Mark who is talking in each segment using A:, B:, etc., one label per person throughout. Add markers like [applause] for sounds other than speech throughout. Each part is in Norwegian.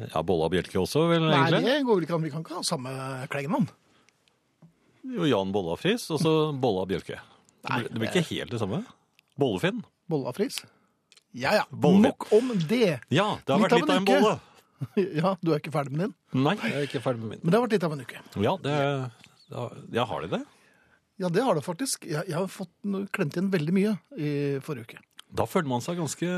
A: ja Bolla Bjelke også, vel,
B: Nei,
A: egentlig.
B: det går vel ikke an. Vi kan ikke ha samme klengenavn.
A: Jo, Jan Bolla Friis, og så Bolla Bjelke. Det blir- det blir ikke helt det samme. Bollefinn.
B: Bolla Friis. Ja, ja.
A: Bolle.
B: Nok om det. [laughs]
A: Ja, det har vært litt av en
B: uke.
A: bolle.
B: Ja, du er ikke ferdig med din,
A: Nei, jeg er ikke ferdig med min.
B: men det har vært litt av en uke.
A: Ja, det, da- ja har de det?
B: Ja, det har det faktisk. Jeg, jeg har fått klemt igjen veldig mye i forrige uke.
A: Da føler man seg ganske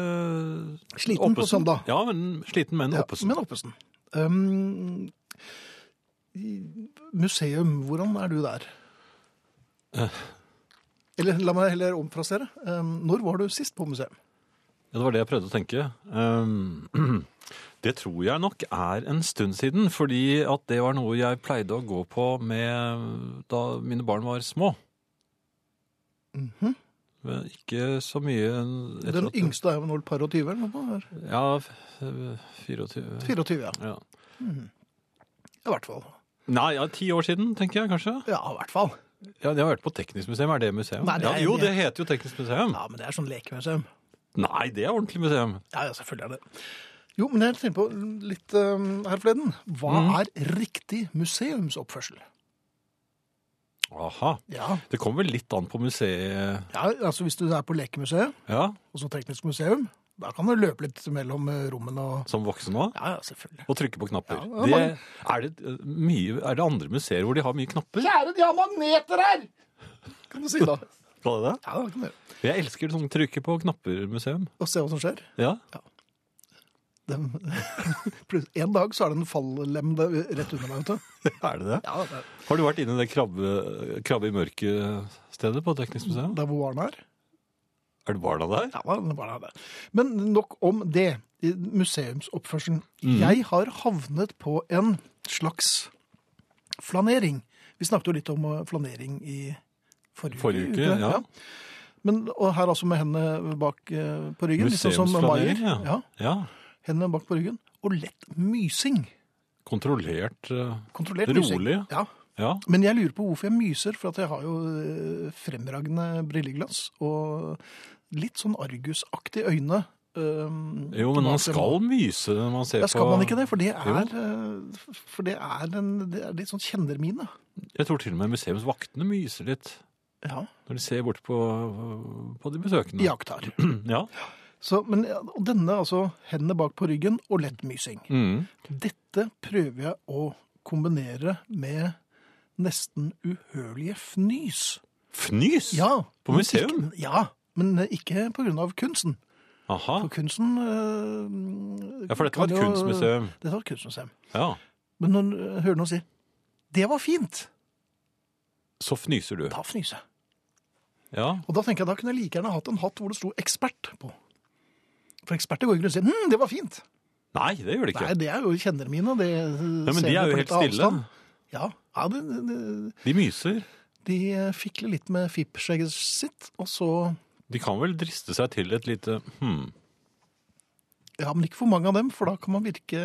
B: Sliten på søndag.
A: Ja, men sliten, men oppesen.
B: Men Oppesen. Um, i- museum, hvordan er du der?
A: Eh.
B: Eller la meg heller omfrasere. Um, når var du sist på museum?
A: Ja, det var det jeg prøvde å tenke. Ehm, [clears throat] det tror jeg nok er en stund siden, fordi at det var noe jeg pleide å gå på med da mine barn var små. Men Ikke så mye etter
B: Mhm. Den
A: at-
B: yngste er jo nå et par og tyve, eller noe? sånt.
A: Ja, f- eh, 24
B: 24, ja. Mhm.
A: ja.
B: I hvert fall.
A: Nei, ja, ti år siden, tenker jeg kanskje.
B: Ja, i hvert fall.
A: Ja, Jeg har vært på Teknisk museum. Er det museum?
B: Nei, det er-
A: ja, jo, det heter jo Teknisk museum.
B: Ja, men det er sånn lekemuseum.
A: Nei, det er ordentlig museum.
B: Ja, ja, selvfølgelig er det. Jo, men jeg tenkte på litt um, her forleden. Hva
A: Mhm.
B: er riktig museumsoppførsel?
A: Aha.
B: Ja.
A: Det kommer vel litt an på museet
B: ja, altså hvis du er på lekemuseet,
A: Ja,
B: og så teknisk museum, da kan du løpe litt mellom eh, rommene og
A: som voksen òg.
B: Ja, ja, selvfølgelig.
A: Og trykke på knapper.
B: Ja, det er
A: det, er, det eh, mye, er det andre museer hvor de har mye knapper?
B: Kjære, de har magneter her! Kan du si da.
A: Var det det?
B: [laughs] Ja, det kan du gjøre.
A: Jeg elsker sånn trykke på knapper-museum.
B: Og se hva som skjer.
A: Ja.
B: De... [laughs] Plutselig- en dag så er det en fallem der rett under meg, vet du.
A: [laughs] Er det det?
B: Ja, det er-
A: Har du vært inne i det krabbe, krabbe i mørket-stedet på Teknisk museum?
B: der hvor barna er.
A: Er det barna der?
B: Ja, da, det er barna der. Men nok om det. i Museumsoppførselen.
A: Mm.
B: Jeg har havnet på en slags flanering. Vi snakket jo litt om eh, flanering i forrige,
A: Forrige uke, ja.
B: Men, og her altså med hendene bak eh, på ryggen. litt sånn som
A: Museumsflanering,
B: Maier.
A: ja. ja.
B: Hendene bak på ryggen. Og lett mysing.
A: Kontrollert eh,
B: Kontrollert
A: Rolig.
B: mysing. Ja.
A: Ja.
B: Men jeg lurer på hvorfor jeg myser, for at jeg har jo eh, fremragende brilleglass og litt sånn argusaktig øyne. eh,
A: Jo, men man
B: bak dem.
A: skal myse når man ser
B: Ja, skal
A: på
B: man ikke det? For det
A: Jo.
B: er, eh, for det er, en, det er litt sånn kjennermine.
A: Jeg tror til og med museumsvaktene myser litt
B: Ja,
A: når de ser bort på, på de besøkende.
B: iakttar.
A: [clears throat] Ja.
B: Så, men ja, og denne, altså hendene bak på ryggen og lett mysing.
A: Mm.
B: Dette prøver jeg å kombinere med nesten uhørlige fnys.
A: Fnys!
B: Ja.
A: På
B: men
A: museum?
B: Ikke, ja, men ikke på grunn av kunsten.
A: Aha.
B: For kunsten øh,
A: Ja, for dette var
B: kan
A: et
B: jo-
A: kunstmuseum.
B: Dette var et kunstmuseum.
A: Ja.
B: Men når en øh, hører noen si 'det var fint',
A: Så fnyser du.
B: da fnyser jeg.
A: Ja.
B: Og da tenker jeg da kunne jeg like gjerne hatt en hatt hvor det sto 'ekspert' på. For eksperter går ikke rundt og sier 'hm, det var fint'.
A: Nei, det gjør det ikke.
B: Nei, det er jo kjenner mine. Det
A: Ja, men de er jo helt stille.
B: Ja, ja det, det,
A: De myser.
B: de fikler litt med fippskjegget sitt, og så
A: De kan vel driste seg til et lite hm.
B: Ja, men ikke for mange av dem, for da kan man virke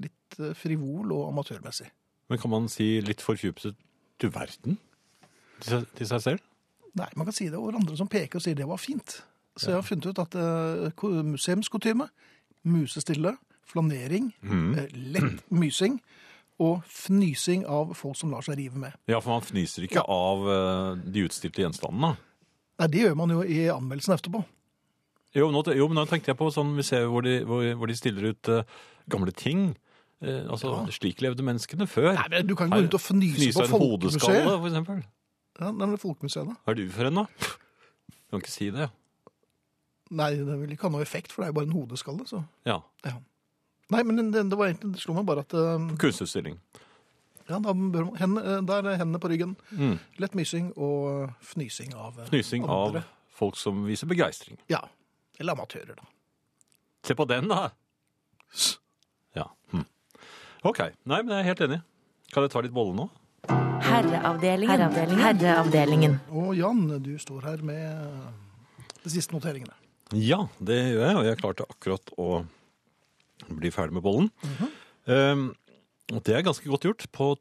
B: litt eh, frivol og amatørmessig.
A: Men kan man si litt forfjupset du verden til seg, til seg selv?
B: Nei, man kan si det over andre som peker og sier det var fint. Så jeg har funnet ut at eh, ko- museumskostyme, musestille, flanering,
A: Mm.
B: eh, lett [clears throat] mysing og fnysing av folk som lar seg rive med.
A: Ja, for man fnyser ikke av eh, de utstilte gjenstandene.
B: Nei, det gjør man jo i anmeldelsen etterpå.
A: Jo, nå, te- jo, men nå tenkte jeg på sånn museum hvor de, hvor, hvor de stiller ut eh, gamle ting. Eh, altså, slik levde menneskene før.
B: Nei, men Du kan
A: Her
B: gå rundt og fnyse
A: Fnyser
B: på
A: en hodeskalle,
B: Folkemuseet.
A: for eksempel.
B: Ja, nei, men folkemuseet da.
A: Hva er du for en, da? Du kan ikke si det.
B: Nei, det vil ikke ha noe effekt, for det er jo bare en hodeskalle. Så.
A: Ja.
B: Nei, men det, det, var egentlig, det slo meg bare at eh,
A: Kunstutstilling.
B: Ja, da bør man, hen, eh, der er hendene på ryggen.
A: Mm.
B: Lett mysing og fnysing av eh,
A: Fnysing av
B: andre.
A: folk som viser begeistring.
B: Ja. Eller amatører, da.
A: Se på den, da! Ja. Hm. Ok. Nei, men jeg er helt enig. Kan jeg ta litt bolle nå?
C: Herreavdelingen. Herreavdelingen.
B: Og Jan, du står her med de siste noteringene.
A: Ja, det gjør jeg, og jeg klarte akkurat å bli ferdig med bollen. Ehm, og det er ganske godt gjort på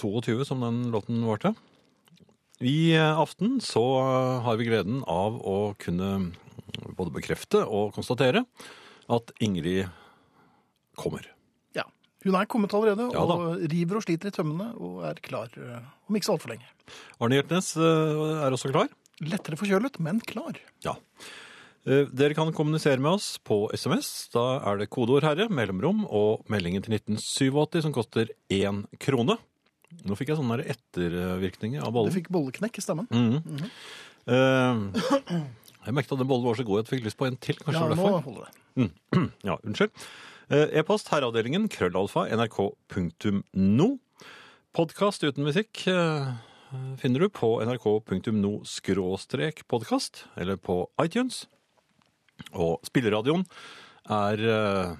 A: 2.22, som den låten var til. I eh, aften så eh, har vi gleden av å kunne både bekrefte og konstatere at Ingrid kommer.
B: Ja. Hun er kommet allerede,
A: Ja da.
B: og river og sliter i tømmene, og er klar eh, om ikke så altfor lenge.
A: Arne Hjertnes eh, er også klar.
B: Lettere forkjølet, men klar.
A: Ja. Eh, Dere kan kommunisere med oss på SMS. Da er det kodeord 'herre', mellomrom og meldingen til 1987 som koster én krone. Nå fikk jeg sånne der ettervirkninger av
B: Du
A: bollen.
B: fikk bolleknekk i stemmen.
A: Mhm. Eh, jeg merket at den bollen var så god at jeg fikk lyst på en til. kanskje
B: Ja,
A: det var
B: nå
A: derfor.
B: holder det.
A: Ja, unnskyld. Eh, E-post herreavdelingen krøllalfa nrk.no. Podkast uten musikk eh, finner du på nrk.no skråstrek podkast, eller på iTunes. Og spilleradioen er eh,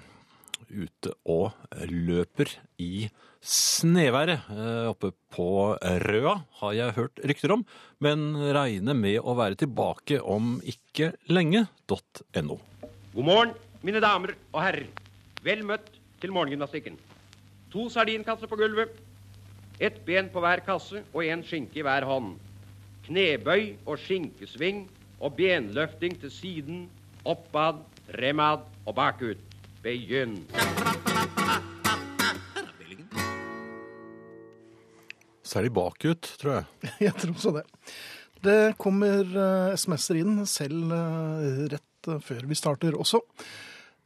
A: ute og løper i sneværet eh, oppe på Røa, har jeg hørt rykter om. Men regner med å være tilbake om ikke lenge. .no.
D: God morgen, mine damer og herrer. Vel møtt til morgengymnastikken. To sardinkasser på gulvet, ett ben på hver kasse og én skinke i hver hånd. Knebøy og skinkesving og benløfting til siden, oppad, remad og bakut. Begynn.
A: Særlig bakut, tror jeg.
B: [laughs] Jeg tror også det. Det kommer eh, SMS-er inn, selv eh, rett eh, før vi starter også.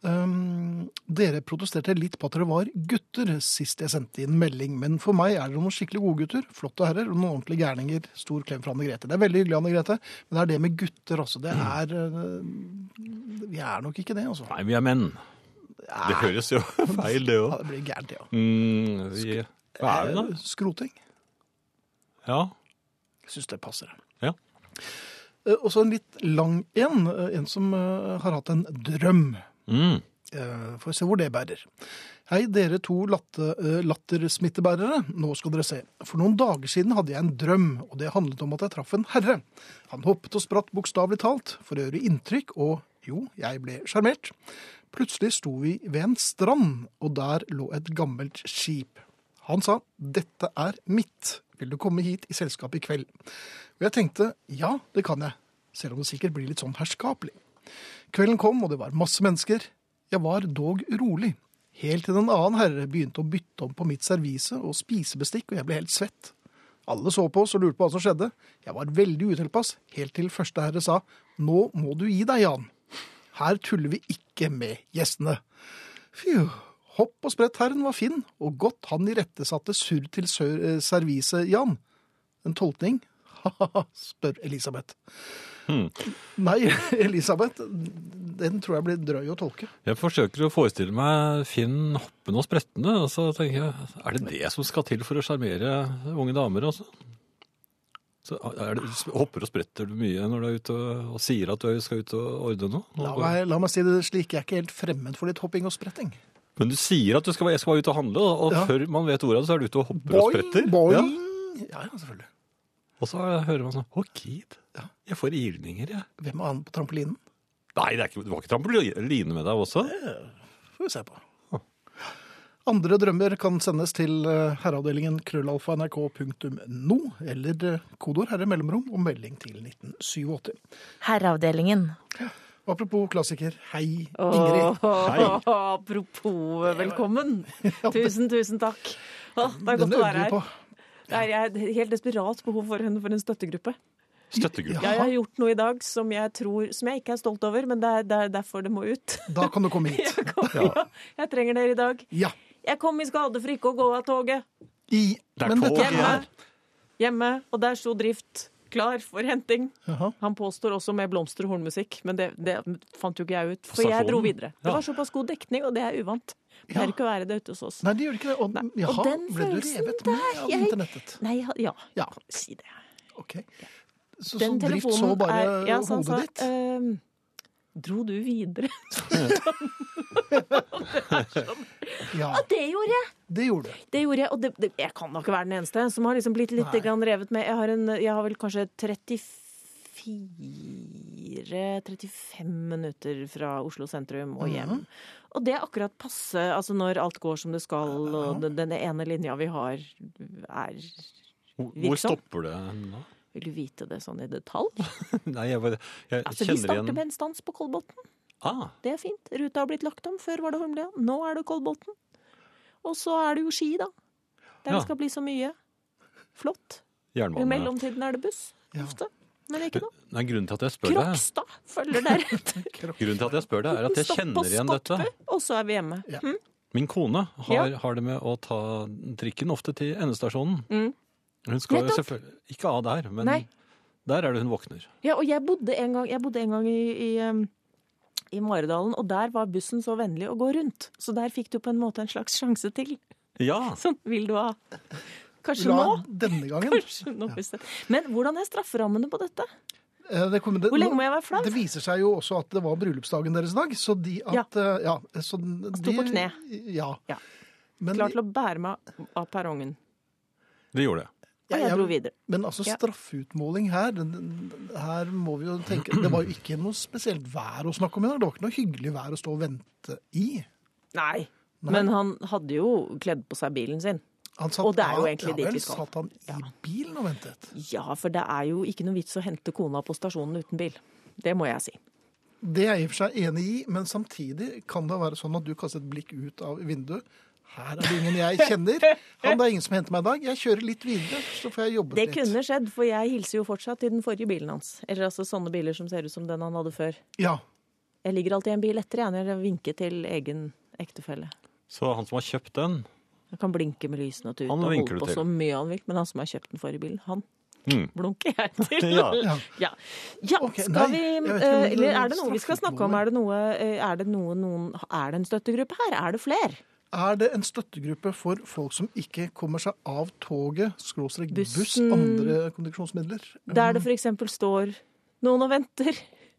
B: Um, dere protesterte litt på at dere var gutter sist jeg sendte inn melding, men for meg er dere noen skikkelig gode gutter, flotte herrer og noen ordentlige gærninger. Stor klem fra Anne Grete. Det er veldig hyggelig, Anne Grete, men det er det med gutter også. Det er eh, Vi er nok ikke det, altså.
A: Nei, vi er menn. Det høres jo [laughs] feil, det
B: Ja,
A: òg.
B: det blir gærent, ja.
A: Mm, vi- hva er vi da?
B: Eh, Skroting.
A: Ja.
B: Jeg syns det passer.
A: Ja.
B: Eh, Og så en litt lang en. eh, En som eh, har hatt en drøm.
A: Mm.
B: Eh, Får vi se hvor det bærer. Hei, dere to latte, eh, lattersmittebærere. Nå skal dere se. For noen dager siden hadde jeg en drøm, og det handlet om at jeg traff en herre. Han hoppet og spratt bokstavelig talt for å gjøre inntrykk, og jo, jeg ble sjarmert. Plutselig sto vi ved en strand, og der lå et gammelt skip. Han sa 'Dette er mitt. Vil du komme hit i selskap i kveld?' Og jeg tenkte 'Ja, det kan jeg', selv om det sikkert blir litt sånn herskapelig. Kvelden kom, og det var masse mennesker. Jeg var dog urolig. Helt til en annen herre begynte å bytte om på mitt servise og spisebestikk, og jeg ble helt svett. Alle så på oss og lurte på hva som skjedde. Jeg var veldig utilpass, helt til første herre sa 'Nå må du gi deg, Jan'. Her tuller vi ikke med gjestene. Fju. Hopp og sprett herren var Finn, og godt han irettesatte surr til sør, eh, servise, Jan. En tolkning? [laughs] Ha-ha, spør Elisabeth. Nei, [laughs] Elisabeth, den tror jeg blir drøy å tolke.
A: Jeg forsøker å forestille meg Finn hoppende og sprettende, og så tenker jeg Er det det som skal til for å sjarmere unge damer, altså? Så er det, hopper og spretter du mye når du er ute og, og sier at du skal ut og ordne noe?
B: La meg, la meg si det slik, jeg er ikke helt fremmed for litt hopping og spretting.
A: Men du sier at du skal, være- jeg skal være ute og handle, og og
B: Ja.
A: før man vet ordet av det, så er du ute og hopper og spretter.
B: boing.
A: Ja.
B: Ja. ja, selvfølgelig.
A: Og så hører man sånn Å, gid. Jeg får ilninger, jeg.
B: Hvem er han på trampolinen?
A: Nei, det, er ikke, det var ikke trampoline med deg også?
B: Får vi se på. Andre drømmer kan sendes til eh, herreavdelingen krøllalfa.nrk.no eller eh, kodeord herre mellomrom og melding til 1987.
C: Herreavdelingen.
B: Og apropos klassiker, hei Ingrid.
A: Hei.
E: apropos
B: [laughs]
E: velkommen. Tusen, tusen takk. Å, det er
B: Den
E: godt å være
B: øvde vi
E: her. Det er, jeg er helt desperat behov for en, for en støttegruppe.
A: Støttegruppe.
E: Jeg har gjort noe i dag som jeg tror, som jeg ikke er stolt over, men det er, det er derfor det må ut. [laughs]
B: på. Da kan du komme hit.
E: Jeg, kom, ja. jeg trenger dere i dag.
B: Ja.
E: Jeg kom i skade for ikke å gå av toget.
B: I,
A: Det er
B: men dette
A: tog
B: er
E: Hjemme, hjemme og der sto drift klar for henting.
B: Jaha.
E: Han påstår også med blomster- og hornmusikk, men det, det fant jo ikke jeg ut. For
A: Stasjonen?
E: jeg dro videre.
A: Ja.
E: Det var såpass god dekning, og det er uvant. Det
B: Ja.
E: er ikke å være det ute hos oss.
B: Nei, det gjør ikke det. Og,
E: Nei. Og
B: jaha,
E: den
B: ble du
E: følelsen
B: revet med av
E: jeg-
B: internettet?
E: Nei, ja, ja.
B: Ja.
E: si det.
B: Ok. Så, så drift så bare
E: ja, så han
B: hodet
E: sa,
B: ditt?
E: ehm, Dro du videre?
B: Ja,
E: Ja, det gjorde jeg!
B: det gjorde det.
E: Det gjorde jeg, og det, det, jeg kan nok være den eneste som har liksom blitt litt
B: Nei.
E: grann revet med. Jeg har, en, jeg har vel kanskje 34-35 minutter fra Oslo sentrum og
A: Mhm.
E: hjem. Og det er akkurat passe, altså når alt går som det skal, og den, den ene linja vi har, er
A: Hvor hvor
E: Virksom.
A: stopper det nå? [laughs]
E: Vil du vite det sånn i detalj?
A: Nei, jeg bare jeg
E: Altså, vi
A: kjenner
E: starter
A: igjen
E: med en stans på Kolbotn.
A: ah,
E: Det er fint. Ruta har blitt lagt om. Før var det Holmlia, nå er det Kolbotn. Og så er det jo Ski, da. Der
A: Ja.
E: det skal bli så mye. Flott. I
A: jernbane.
E: mellomtiden er det buss. Ofte. Men ikke nå.
A: Nei, grunnen til at jeg spør deg,
E: Krokstad følger
A: [laughs]
E: deretter.
A: grunnen til at jeg spør deg, er at jeg
E: Stopp på
A: kjenner igjen dette.
E: Skotbu, Og så er vi hjemme.
A: Min kone har,
E: Ja.
A: har det med å ta trikken ofte til endestasjonen.
E: Mm.
A: Hun skal jo
E: Nettopp.
A: selvfølgelig ikke av der, men
E: Nei.
A: der er det hun våkner.
E: Ja, og jeg bodde en gang, jeg bodde en gang i, i, um, i Maridalen, og der var bussen så vennlig å gå rundt. Så der fikk du på en måte en slags sjanse til. [laughs]
A: Ja,
E: Sånn vil du ha. Kanskje
B: La
E: nå?
B: denne gangen.
E: Kanskje nå hvis det- Men hvordan er strafferammene på dette?
B: Eh, Det kom, det,
E: Hvor lenge må jeg være flau?
B: Det viser seg jo også at det var bryllupsdagen deres i dag, så de at eh, Ja. så de,
E: Sto på kne.
B: Ja.
E: Ja.
B: Men,
E: Klar til å bære meg av perrongen.
A: det gjorde jeg.
E: Og jeg dro videre.
B: Men altså
E: Ja.
B: straffeutmåling her den- den- Her må vi jo tenke Det var jo ikke noe spesielt vær å snakke om i dag. Det var ikke noe hyggelig vær å stå og vente i.
E: Nei. Men han hadde jo kledd på seg bilen sin.
B: Han satt,
E: Og det er jo egentlig
B: ja,
E: dit
B: vel,
E: vi skal.
B: Satt han i bilen og ventet?
E: Ja, for det er jo ikke noe vits å hente kona på stasjonen uten bil. Det må jeg si.
B: Det er jeg i og for seg enig i, men samtidig kan det være sånn at du kaster et blikk ut av vinduet. Her er det ingen
E: [laughs]
B: jeg kjenner. Han, det er ingen som henter meg i dag. Jeg kjører litt videre, så får jeg jobbet
E: Det
B: litt.
E: kunne skjedd, for jeg hilser jo fortsatt til den forrige bilen hans. Eller altså sånne biler som ser ut som den han hadde før.
B: Ja.
E: Jeg ligger alltid en bil etter, jeg, når jeg vinker til egen ektefelle.
A: Så han som har kjøpt den,
E: Jeg kan blinke med lysene og tute
A: Han
E: og holde
A: vinker du
E: på
A: til.
E: så mye han vil, men han som har kjøpt den forrige bilen, han
A: Mm.
E: blunker
A: [laughs]
E: jeg til.
A: Ja.
B: Ja.
E: Ja. Ja,
B: Ok, nei,
E: skal vi
B: jeg vet ikke om
E: eh,
B: det er
E: Eller er det noe vi skal snakke om?
B: straffeutmåling.
E: Er det, noe, eh, er det, noe, noen, er det en støttegruppe her? Er det fler?
B: Er det en støttegruppe for folk som ikke kommer seg av toget, skråstrek buss,
E: Bussen.
B: andre kommunikasjonsmidler?
A: Mm.
E: Der det f.eks. står noen og venter.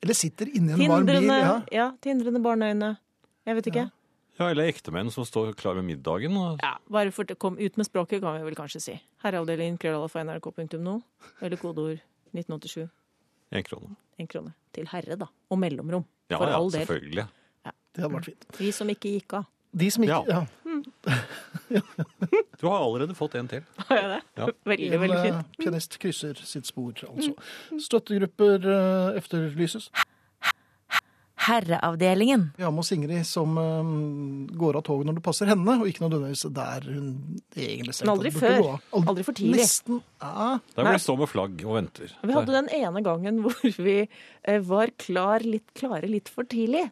B: Eller sitter inni en varm bil?
E: Tindrende, ja.
B: Ja.
E: tindrende barneøyne. Jeg vet ikke.
A: ja, eller ektemenn som står klar med middagen. Og,
E: Ja, bare for, kom ut med språket, kan vi vel kanskje si. Herreavdelingen krøllalfa.nrk.no, eller kodeord 1987.
A: En krone.
E: En krone. Til herre, da. Og mellomrom.
A: Ja,
E: for
A: ja,
E: all del.
A: selvfølgelig.
B: Det hadde vært fint.
E: Vi som ikke gikk av.
B: De som ikke
A: Ja.
B: ja.
A: Du har allerede fått en til.
E: Har jeg det?
A: Ja.
E: Veldig,
B: En
E: veldig
B: eh,
E: fint. Mm.
B: pianist krysser sitt spor, altså. Støttegrupper eh, efterlyses.
C: Herreavdelingen.
B: Vi har med oss Ingrid som eh, går av toget når det passer henne, og ikke nødvendigvis der hun egentlig
E: Men
B: strengt
E: aldri
B: tatt burde
E: før.
B: gå av. Aldri-
E: Aldri for tidlig.
B: Nesten. Ja.
A: Der
E: Nei.
A: vil de stå med flagg og venter.
E: Vi hadde
A: Der.
E: den ene gangen [laughs] hvor vi eh, var klar litt, klare litt for tidlig.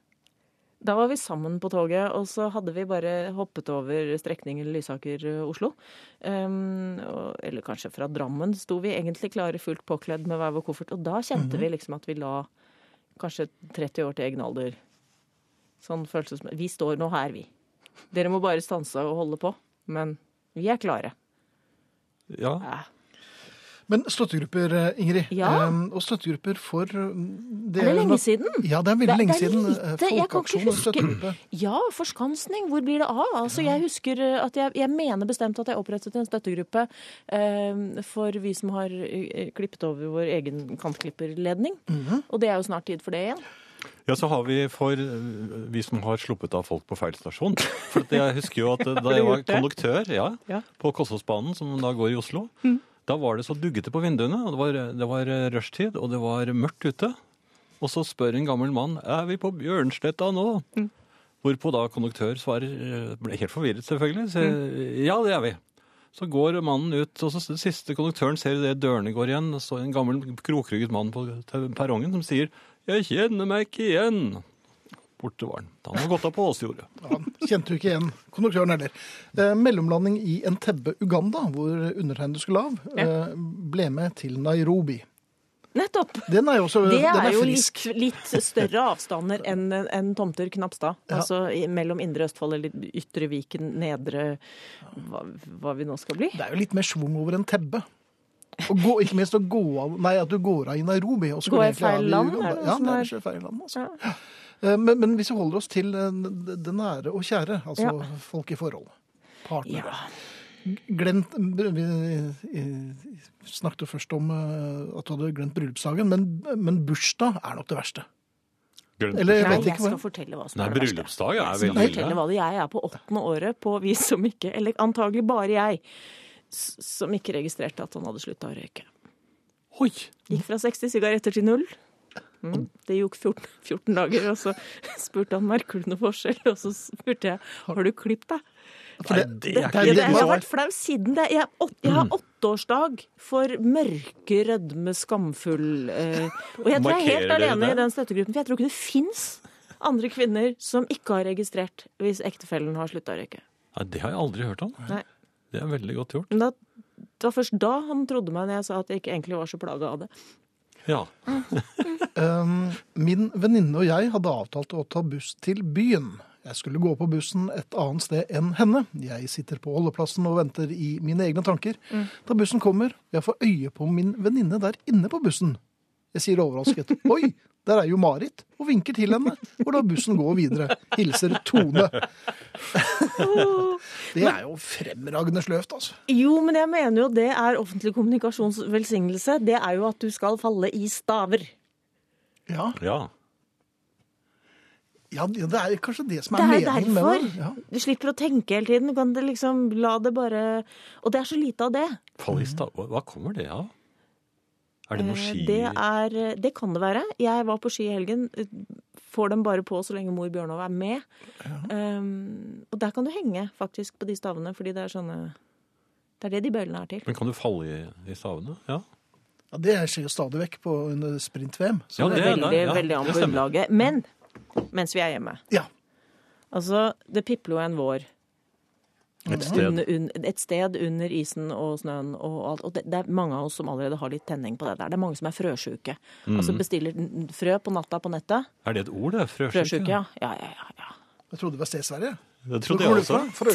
E: Da var vi sammen på toget, og så hadde vi bare hoppet over strekningen Lysaker-Oslo. Um, og- eller kanskje fra Drammen sto vi egentlig klare, fullt påkledd med hver vår koffert. Og da kjente vi liksom at vi la kanskje 30 år til egen alder. Sånn følelsesmessig. Vi står nå her, vi. Dere må bare stanse og holde på. Men vi er klare.
A: Ja.
E: Eh,
B: Men støttegrupper, eh, Ingrid.
E: Ja.
B: Eh, og støttegrupper for mm,
E: Er det lenge siden?
B: Ja, det er veldig
E: Det-
B: lenge
E: det er
B: siden.
E: lite.
B: eh,
E: Jeg kan ikke
B: Folkeaksjon og
E: huske-
B: støttegruppe.
E: Ja, forskansning. Hvor blir det av? Altså, jeg husker eh, at jeg, jeg mener bestemt at jeg opprettet en støttegruppe eh, for vi som har eh, klippet over vår egen kantklipperledning.
B: Mhm.
E: Og det er jo snart tid for det igjen.
A: ja, så har vi for øh, vi som har sluppet av folk på feil stasjon. For at jeg husker jo at
E: [laughs]
A: øh, da jeg var
E: gjort det?
A: konduktør ja,
E: Ja. Mm.
A: på Kåssåsbanen, som da går i Oslo, da var det så duggete på vinduene, og det var, det var øh, rushtid, og det var mørkt ute. Og så spør en gammel mann er vi på Bjørnsletta nå.
E: Mm.
A: Hvorpå da konduktør svarer, øh, ble helt forvirret selvfølgelig, sier
E: Mm.
A: ja, det er vi. Så går mannen ut, og så s- siste konduktøren ser det dørene går igjen. og Så en gammel krokrygget mann på t- perrongen som sier 'Jeg kjenner meg ikke igjen'. Borte var han. Han har gått av på åsjordet.
B: Ja, kjente jo ikke igjen konduktøren heller. Eh, mellomlanding i Entebbe, Uganda, hvor undertegnede skulle av, eh, ble med til Nairobi.
E: Nettopp!
B: Den er jo også
E: Det
B: Øh, den
E: er,
B: er
E: jo litt,
B: frisk.
E: [laughs] litt større avstander enn enn tomter Knapstad. Altså i- mellom Indre Østfold eller Ytre Viken, Nedre hva, hva vi nå skal bli.
B: Det er jo litt mer schwung over Entebbe. Og gå, ikke minst å gå av Nei, at du går av i Nairobi. Og så
E: Gå
B: går
E: i
B: du egentlig
E: feil
B: av
E: land,
B: Uganda.
E: er det
B: Ja,
E: sånn
B: det er
E: der?
B: kanskje feil land, altså.
E: Ja.
B: Eh, Men, men hvis vi holder oss til eh, det det nære og kjære, altså folk i forhold, partnere
E: Ja.
B: Glemt, vi eh, snakket jo først om eh, at du hadde glemt bryllupsdagen, men, men bursdag er nok det verste.
A: Glemt
B: Eller jeg
E: Nei,
B: vet
E: jeg
B: ikke
E: skal
B: hva.
E: fortelle hva som
A: Nei,
E: er det verste.
A: bryllupsdag er
E: Jeg skal
A: veldig
E: fortelle
A: ille.
E: hva det er. Jeg er på åttende året på vi som ikke Eller antagelig bare jeg s- som ikke registrerte at han hadde slutta å røyke.
A: Oi!
E: Gikk fra 60 sigaretter til null. Mm, det gikk 14, 14 dager, og så [laughs] spurte han merker du noe forskjell. Og så spurte jeg har du klippet deg.
B: For det,
A: det
B: det,
A: er
B: det,
A: ikke- Mm.
E: Det,
B: det,
E: jeg har
B: man-
E: vært flau siden det. Jeg, er åt, jeg har åtteårsdag for mørke, rødme, skamfull eh, Og jeg tror jeg er
A: Markerer
E: helt
A: dere
E: alene
A: det?
E: i den støttegruppen, for jeg tror ikke det fins andre kvinner som ikke har registrert hvis ektefellen har slutta å røyke.
A: Nei, det har jeg aldri hørt om.
E: Nei.
A: Det er veldig godt gjort.
E: Men da, det var først da han trodde meg når jeg sa at jeg ikke egentlig var så plaga av det.
A: Ja.
B: Um, Min venninne og jeg hadde avtalt å ta buss til byen. Jeg skulle gå på bussen et annet sted enn henne. Jeg sitter på holdeplassen og venter i mine egne tanker.
E: Mm.
B: Da bussen kommer, jeg får øye på min venninne der inne på bussen. Jeg sier overrasket 'oi, der er jo Marit', og vinker til henne og lar bussen gå videre. Hilser
E: [laughs]
B: Tone. Det er jo fremragende sløvt, altså.
E: Jo, men jeg mener jo det er offentlig kommunikasjons velsignelse. Det er jo at du skal falle i staver.
B: Ja,
A: ja.
B: ja det er kanskje det som er,
E: Det er
B: meningen med
E: derfor.
B: det. Ja.
E: Du slipper å tenke hele tiden. Du kan det liksom la det bare Og det er så lite av det.
A: Fallista. Hva hva kommer det av? Er det noe
E: Mm. Eh,
A: ski?
E: Det, er, det kan det være. Jeg var på ski i helgen. eh, Får dem bare på så lenge mor Bjørnov er med. Um, og der kan du henge faktisk på de stavene, fordi det er sånne Det er det de bøylene er til.
A: Men kan du falle i, i stavene? Ja.
B: Ja, det skjer jo stadig vekk på under sprint-VM. så
A: Ja,
B: det-
A: det er
E: veldig,
A: der, ja.
E: veldig an
A: Det
E: på
A: stemmer.
E: underlaget. Men mens vi er hjemme
B: Ja.
E: Altså, det pipler jo en vår.
A: Et sted.
E: Under- un- et sted under isen og snøen og alt. Og det, det er mange av oss som allerede har litt tenning på det der. Det er mange som er frøsjuke.
A: Mm.
E: Altså bestiller n- frø på natta på nettet.
A: Er det et ord, det?
E: Frøsjuke, ja. Ja, ja, ja. ja.
B: Jeg trodde det var Sted-Sverige.
A: Det
B: Hvor
A: trodde
B: kommer
A: jeg
B: du
A: også.
B: fra?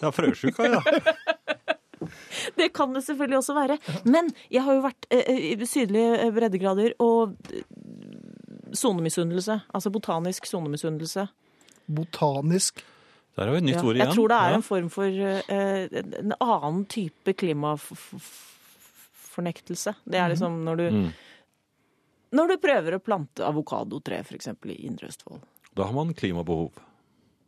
B: Frøsjuka.
A: Ja, frøsjuka, ja.
E: [laughs] Det kan det selvfølgelig også være. Men jeg har jo vært eh, eh, i sydlige eh, breddegrader og eh, sonemisunnelse. Altså botanisk sonemisunnelse.
B: Botanisk
A: Der har vi et nytt
E: Ja.
A: ord igjen.
E: Jeg tror det
A: Ja.
E: er en form for eh, en annen type klimafornektelse. Det er liksom når du Når du prøver å plante avokadotre, f.eks. i Indre Østfold.
A: Da har man klimabehov.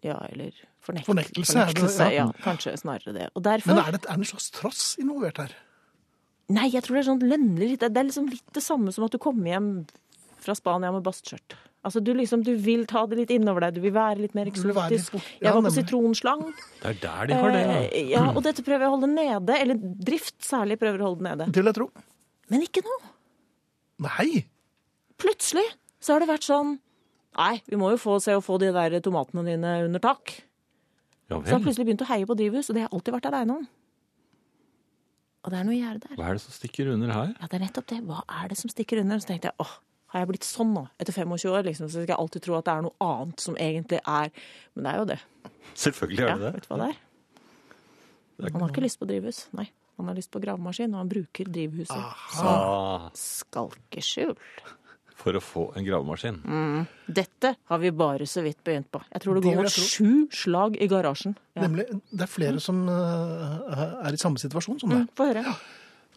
E: Ja, eller fornekt,
B: Fornektelse er det, ja.
E: ja. Kanskje snarere det. Og
B: Men
E: derfor
B: er det, er det en slags trass involvert her?
E: Nei, jeg tror det er sånn lønnlig litt. Det er liksom litt det samme som at du kommer hjem fra Spania med bastskjørt. Altså, du liksom, du vil ta det litt innover deg, du vil være litt mer
B: Du vil være litt
E: eksotisk.
B: bort- ja,
E: Jeg var på
B: nemlig.
E: sitronslang.
A: Det er der de har det. ja.
E: Eh, ja, og dette prøver jeg å holde nede. Eller drift særlig prøver å holde nede.
B: Det vil jeg tro.
E: Men ikke nå.
B: Nei.
E: Plutselig så har det vært sånn Nei, vi må jo få, se å få de der tomatene dine under tak.
A: Ja
E: Så jeg har
A: vel.
E: plutselig begynt å heie på drivhus, og det har jeg alltid vært aleine om. Og det er noe gjerde der.
A: Hva er det som stikker under her?
E: Ja, det er nettopp det. Hva er det som stikker under? Så tenkte jeg åh, har jeg blitt sånn nå? Etter 25 år, liksom, så skal jeg alltid tro at det er noe annet som egentlig er Men det er jo det.
A: Selvfølgelig er
E: Ja,
A: det
E: vet
A: det.
E: du hva det er? Han har ikke lyst på drivhus. Nei. Han har lyst på gravemaskin, og han bruker drivhuset som
A: Ah,
E: skalkeskjul.
A: for å få en gravemaskin.
E: Mm. Dette har vi bare så vidt begynt på. Jeg tror det
B: Det
E: går
B: vil
E: mot
B: jeg tro.
E: sju slag i garasjen. Ja.
B: Nemlig, det er flere som eh, er i samme situasjon som deg.
E: Få høre.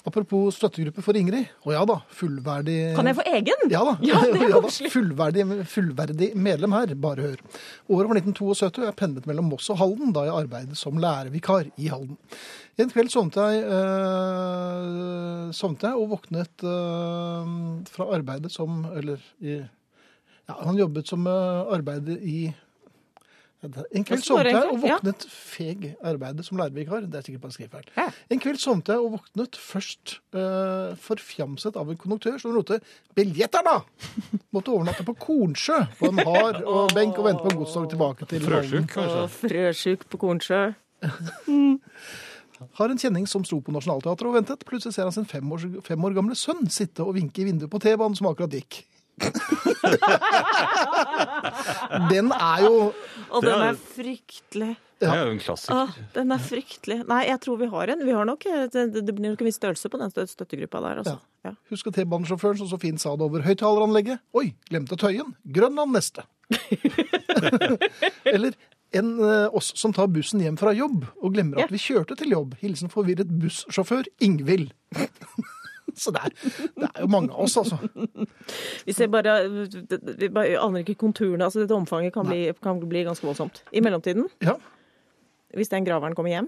B: Apropos støttegruppe for Ingrid. Å ja da, fullverdig
E: Kan jeg få egen?
B: [laughs] Ja da.
E: Ja, det er
B: da.
E: koselig.
B: Fullverdig, fullverdig medlem her, bare hør. Året var 1972, jeg pendlet mellom Moss og Halden da jeg arbeidet som lærervikar i Halden. En kveld sovnet jeg, eh, sovnet jeg og våknet eh, fra arbeidet som Eller i Ja, han jobbet som eh, arbeider i en kveld
E: Det står
B: sovnet jeg og
E: egentlig, ja.
B: våknet feg arbeidet som lærervikar. Det er sikkert bare en skrivefeil.
E: Ja.
B: En kveld sovnet jeg og våknet først eh, forfjamset av en konduktør som ropte 'Biljetter, da!' Måtte overnatte på Kornsjø på en hard og benk og vente på godstog tilbake til
A: Frøsjuk, kanskje.
E: Og frøsjuk på Kornsjø.
B: Har en kjenning som sto på Nationaltheatret og ventet. Plutselig ser han sin fem år, fem år gamle sønn sitte og vinke i vinduet på T-banen som akkurat gikk. [laughs] Den er jo
E: Og
A: Det
E: den
A: er-
E: er fryktelig.
A: Det er jo en klassiker.
E: Åh, den er fryktelig. Nei, jeg tror vi har en. Vi har nok, eh, det, det blir nok en viss størrelse på den stø- støttegruppa der. Altså. Ja.
B: Husk at T-banesjåføren som så fint sa det over høyttaleranlegget. Oi, glemte Tøyen. Grønland
E: [laughs]
B: neste. Eller en eh, oss som tar bussen hjem fra jobb og glemmer at
E: Ja.
B: vi kjørte til jobb. Hilsen forvirret bussjåfør Ingvild. [laughs] så det er, det er jo mange av oss, altså.
E: Vi ser bare, vi bare aner ikke konturene. Altså, dette omfanget kan bli, kan bli ganske voldsomt. I mellomtiden,
B: Ja.
E: hvis den graveren kommer hjem,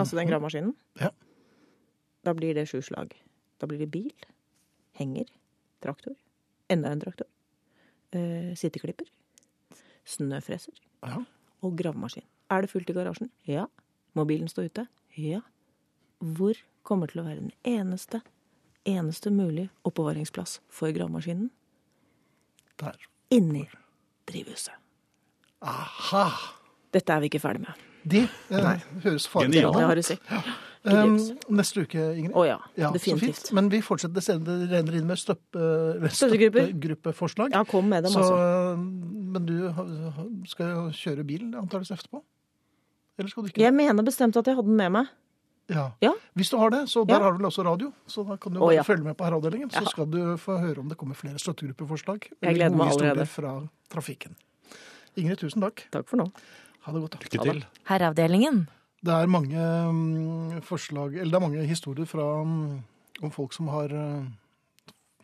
E: altså den gravemaskinen,
B: Ja.
E: da blir det sju slag. Da blir det bil, henger, traktor, enda en traktor, eh, sitteklipper, snøfreser
B: Ja.
E: og gravemaskin. Er det fullt i garasjen? Ja. Mobilen står ute? Ja. Hvor kommer til å være den eneste, eneste mulige oppbevaringsplass for gravemaskinen?
B: Der.
E: Inni drivhuset.
B: Aha!
E: Dette er vi ikke ferdig med.
B: Det eh, høres farlig
A: Genialt.
E: Det
B: ut.
E: har du sett.
B: Um,
E: Ikke
B: neste uke, Ingrid.
E: Å ja,
B: Ja, så fint.
E: definitivt.
B: Men vi fortsetter senere. Det renner inn med støpp, eh,
E: Støttegrupper.
B: støttegruppeforslag.
E: Ja, kom med dem,
B: Så,
E: altså.
B: øh, men du ha- ha- skal jo kjøre bil antakeligvis etterpå? Eller skal du ikke?
E: Jeg mener bestemt at jeg hadde den med meg.
B: Ja.
E: Ja.
B: Hvis du har det, så der
E: Ja.
B: har du vel også radio. Så da kan du
E: Å,
B: bare
E: ja.
B: følge med på herreavdelingen. Så
E: Ja.
B: skal du få høre om det kommer flere støttegruppeforslag.
E: Jeg gleder
B: Gode
E: meg
B: historier
E: allerede.
B: fra trafikken. Ingrid, tusen takk.
E: Takk for nå.
B: Ha det godt. da.
A: Lykke til.
C: Herreavdelingen.
B: Det er mange mm, forslag, eller det er mange historier fra, mm, om folk som har øh,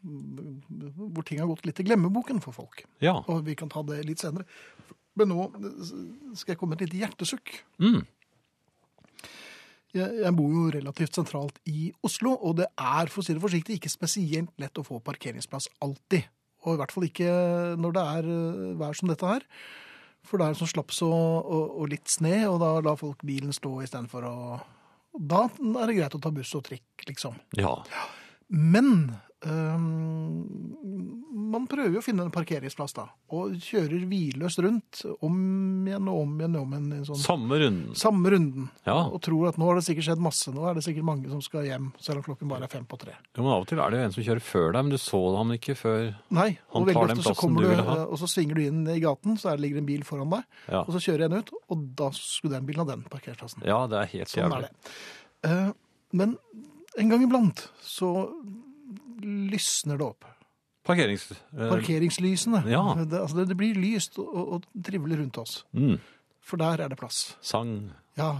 B: Hvor ting har gått litt i glemmeboken for folk.
A: Ja.
B: Og vi kan ta det litt senere. Men nå skal jeg komme med et lite hjertesukk.
A: Mm.
B: Jeg, jeg bor jo relativt sentralt i Oslo, og det er for å si det forsiktig ikke spesielt lett å få parkeringsplass alltid. Og i hvert fall ikke når det er eh, vær som dette her. For det er sånn slaps og, og, og litt sne, og da lar folk bilen stå istedenfor å og Da er det greit å ta buss og trikk, liksom.
A: ja.
B: Men øhm, man prøver jo å finne en parkeringsplass, da. Og kjører hvilløst rundt om igjen og om igjen og om igjen. i en Sånn,
A: Samme runden.
B: samme runden.
A: Ja.
B: Og tror at nå har det sikkert skjedd masse, nå er det sikkert mange som skal hjem, selv om klokken bare er fem på tre.
A: Jo, men Av og til er det jo en som kjører før deg, men du så ham ikke før
B: Nei,
A: Han
B: og veldig
A: tar den
B: ofte så
A: plassen
B: kommer
A: du
B: du, eh,
A: vil ha.
B: og så svinger du inn i gaten, så er det- ligger det en bil foran deg,
A: Ja,
B: og så kjører jeg den ut, og da skulle den bilen ha den parkeringsplassen.
A: ja det er helt
B: Sånn er
A: jævlig.
B: det. Eh, Men en gang iblant så lysner det opp.
A: Parkerings... eh,
B: Parkeringslysene.
A: Ja.
B: Det, altså det, det blir lyst og, og trivelig rundt oss.
A: Mm.
B: For der er det plass.
A: Sang.
B: Ja,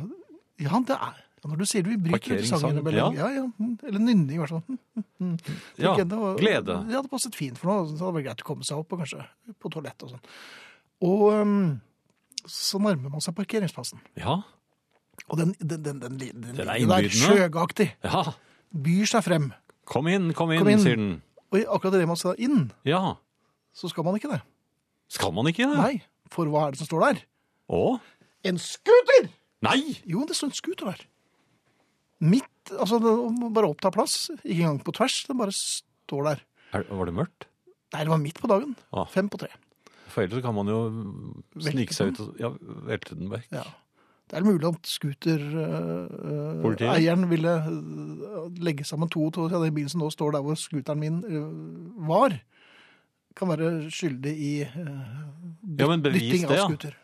B: ja det er ja, Når du sier det, vi bryter ut i
A: Parkeringssang,
B: sangen. innimellom. Ja. ja, mm, Eller nynning, i hvert fall. Mm,
A: Ja.
B: ikke enda, og-
A: Glede.
B: Ja, det passet fint for noe. Så hadde det vært greit å komme seg opp, og kanskje på toalett og sånn. Og um, så nærmer man seg parkeringsplassen.
A: Ja.
B: Og den, den, den, den, den,
A: Den er
B: ligger der
A: innbydende.
B: sjøgaktig.
A: Ja.
B: Byr seg frem.
A: Kom inn, kom inn,
B: Kom inn.
A: sier den.
B: Og i akkurat idet man skal inn,
A: Ja.
B: så skal man ikke det.
A: Skal man ikke det?
B: Nei, for hva er det som står der?
A: Å?
B: En scooter!
A: Nei!
B: Jo, det står en scooter der. Midt, altså det må bare oppta plass, ikke engang på tvers, den bare står der.
A: Er, var det mørkt?
B: Nei, det var midt på dagen,
A: Ah.
B: fem på tre.
A: For ellers så kan man jo snike seg
B: den.
A: ut og ja, velte den vekk.
B: Ja. Det er mulig at
A: Politiet?
B: scooter-eieren ville øh, legge sammen to og to av den bilen som nå står der hvor scooteren min øh, var. Kan være skyldig i øh,
A: Ja, men bevis
B: dytting
A: det,
B: av
A: ja.
B: scooter.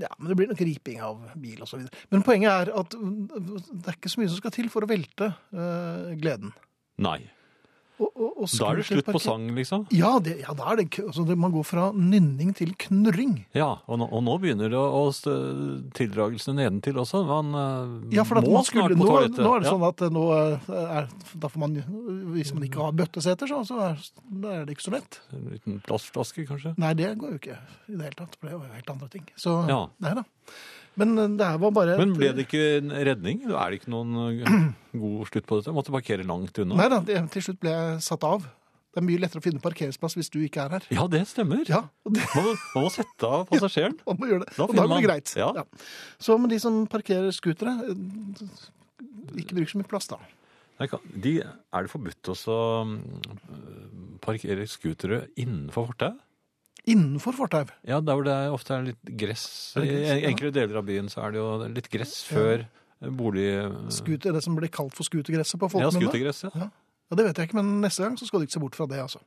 B: Ja, men det blir nok riping av bil og så videre. Men poenget er at øh, det er ikke så mye som skal til for å velte øh, gleden.
A: Nei.
B: Og, og, og
A: Da er det slutt på
B: scooterparker-
A: sang, liksom.
B: Ja, det, ja da er det, k- altså, det Man går fra nynning til knurring.
A: Ja, og nå, og nå begynner det å, å st- tildragelsene nedentil også. Man eh,
B: Ja, for at
A: må
B: man skulle,
A: snart
B: nå,
A: på
B: nå
A: toalettet.
B: er det
A: Ja.
B: sånn at eh, nå eh, er, da får man, Hvis man ikke har bøtteseter, så, så er, da er det ikke så lett.
A: En liten plastflaske, kanskje?
B: Nei, det går jo ikke i det hele tatt. For det var jo helt andre ting. Så
A: Ja.
B: nei da. Men eh, det her var bare
A: Men ble det ikke en redning? Er det ikke noen eh, god slutt på dette? Måtte parkere langt unna?
B: Nei da, det, til slutt ble jeg satt av. Det er mye lettere å finne parkeringsplass hvis du ikke er her.
A: Ja, det stemmer.
B: Ja, og det,
A: Man, må, man må sette
B: [laughs]
A: av passasjeren.
B: man må gjøre det.
A: Da
B: og da
A: finner
B: går det
A: man-
B: greit.
A: ja.
B: Så men de som parkerer scootere, eh, ikke bruk så mye plass, da.
A: Nei, kan- De, er det forbudt også å mm, parkere scootere innenfor fortauet?
B: Innenfor fortau.
A: Ja, der hvor det er, ofte er litt gress.
B: Er det gress,
A: I
B: ja?
A: enkelte deler av byen så er det jo litt gress før eh, bolig...
B: Scooter, det som blir kalt for scootergresset på
A: Ja,
B: folkemunne.
A: skutergress, ja.
B: Ja, det vet jeg ikke, men neste gang så skal du ikke se bort fra det, altså.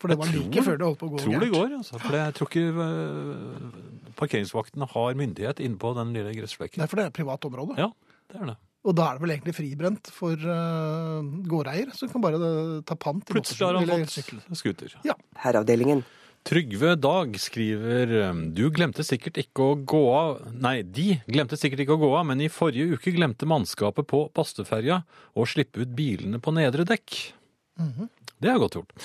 B: For det var
A: Jeg
B: like
A: tror-
B: før det holdt på å gå
A: Tror det
B: gærent.
A: går, altså. For jeg tror ikke øh, parkeringsvaktene har myndighet innpå den lille gressflekken.
B: Nei, for det er et privat område.
A: Ja, det er det.
B: Og da er det vel egentlig fribrent for eh, gårdeier, som kan bare eh, ta pant i
A: Plutselig har han
B: motorsykkel eller sykkel.
A: fått scooter.
F: Herreavdelingen.
A: Trygve Dag skriver um, Du glemte sikkert ikke å gå av Nei, de glemte sikkert ikke å gå av, men i forrige uke glemte mannskapet på Bastøferja å slippe ut bilene på nedre dekk. Det er godt gjort.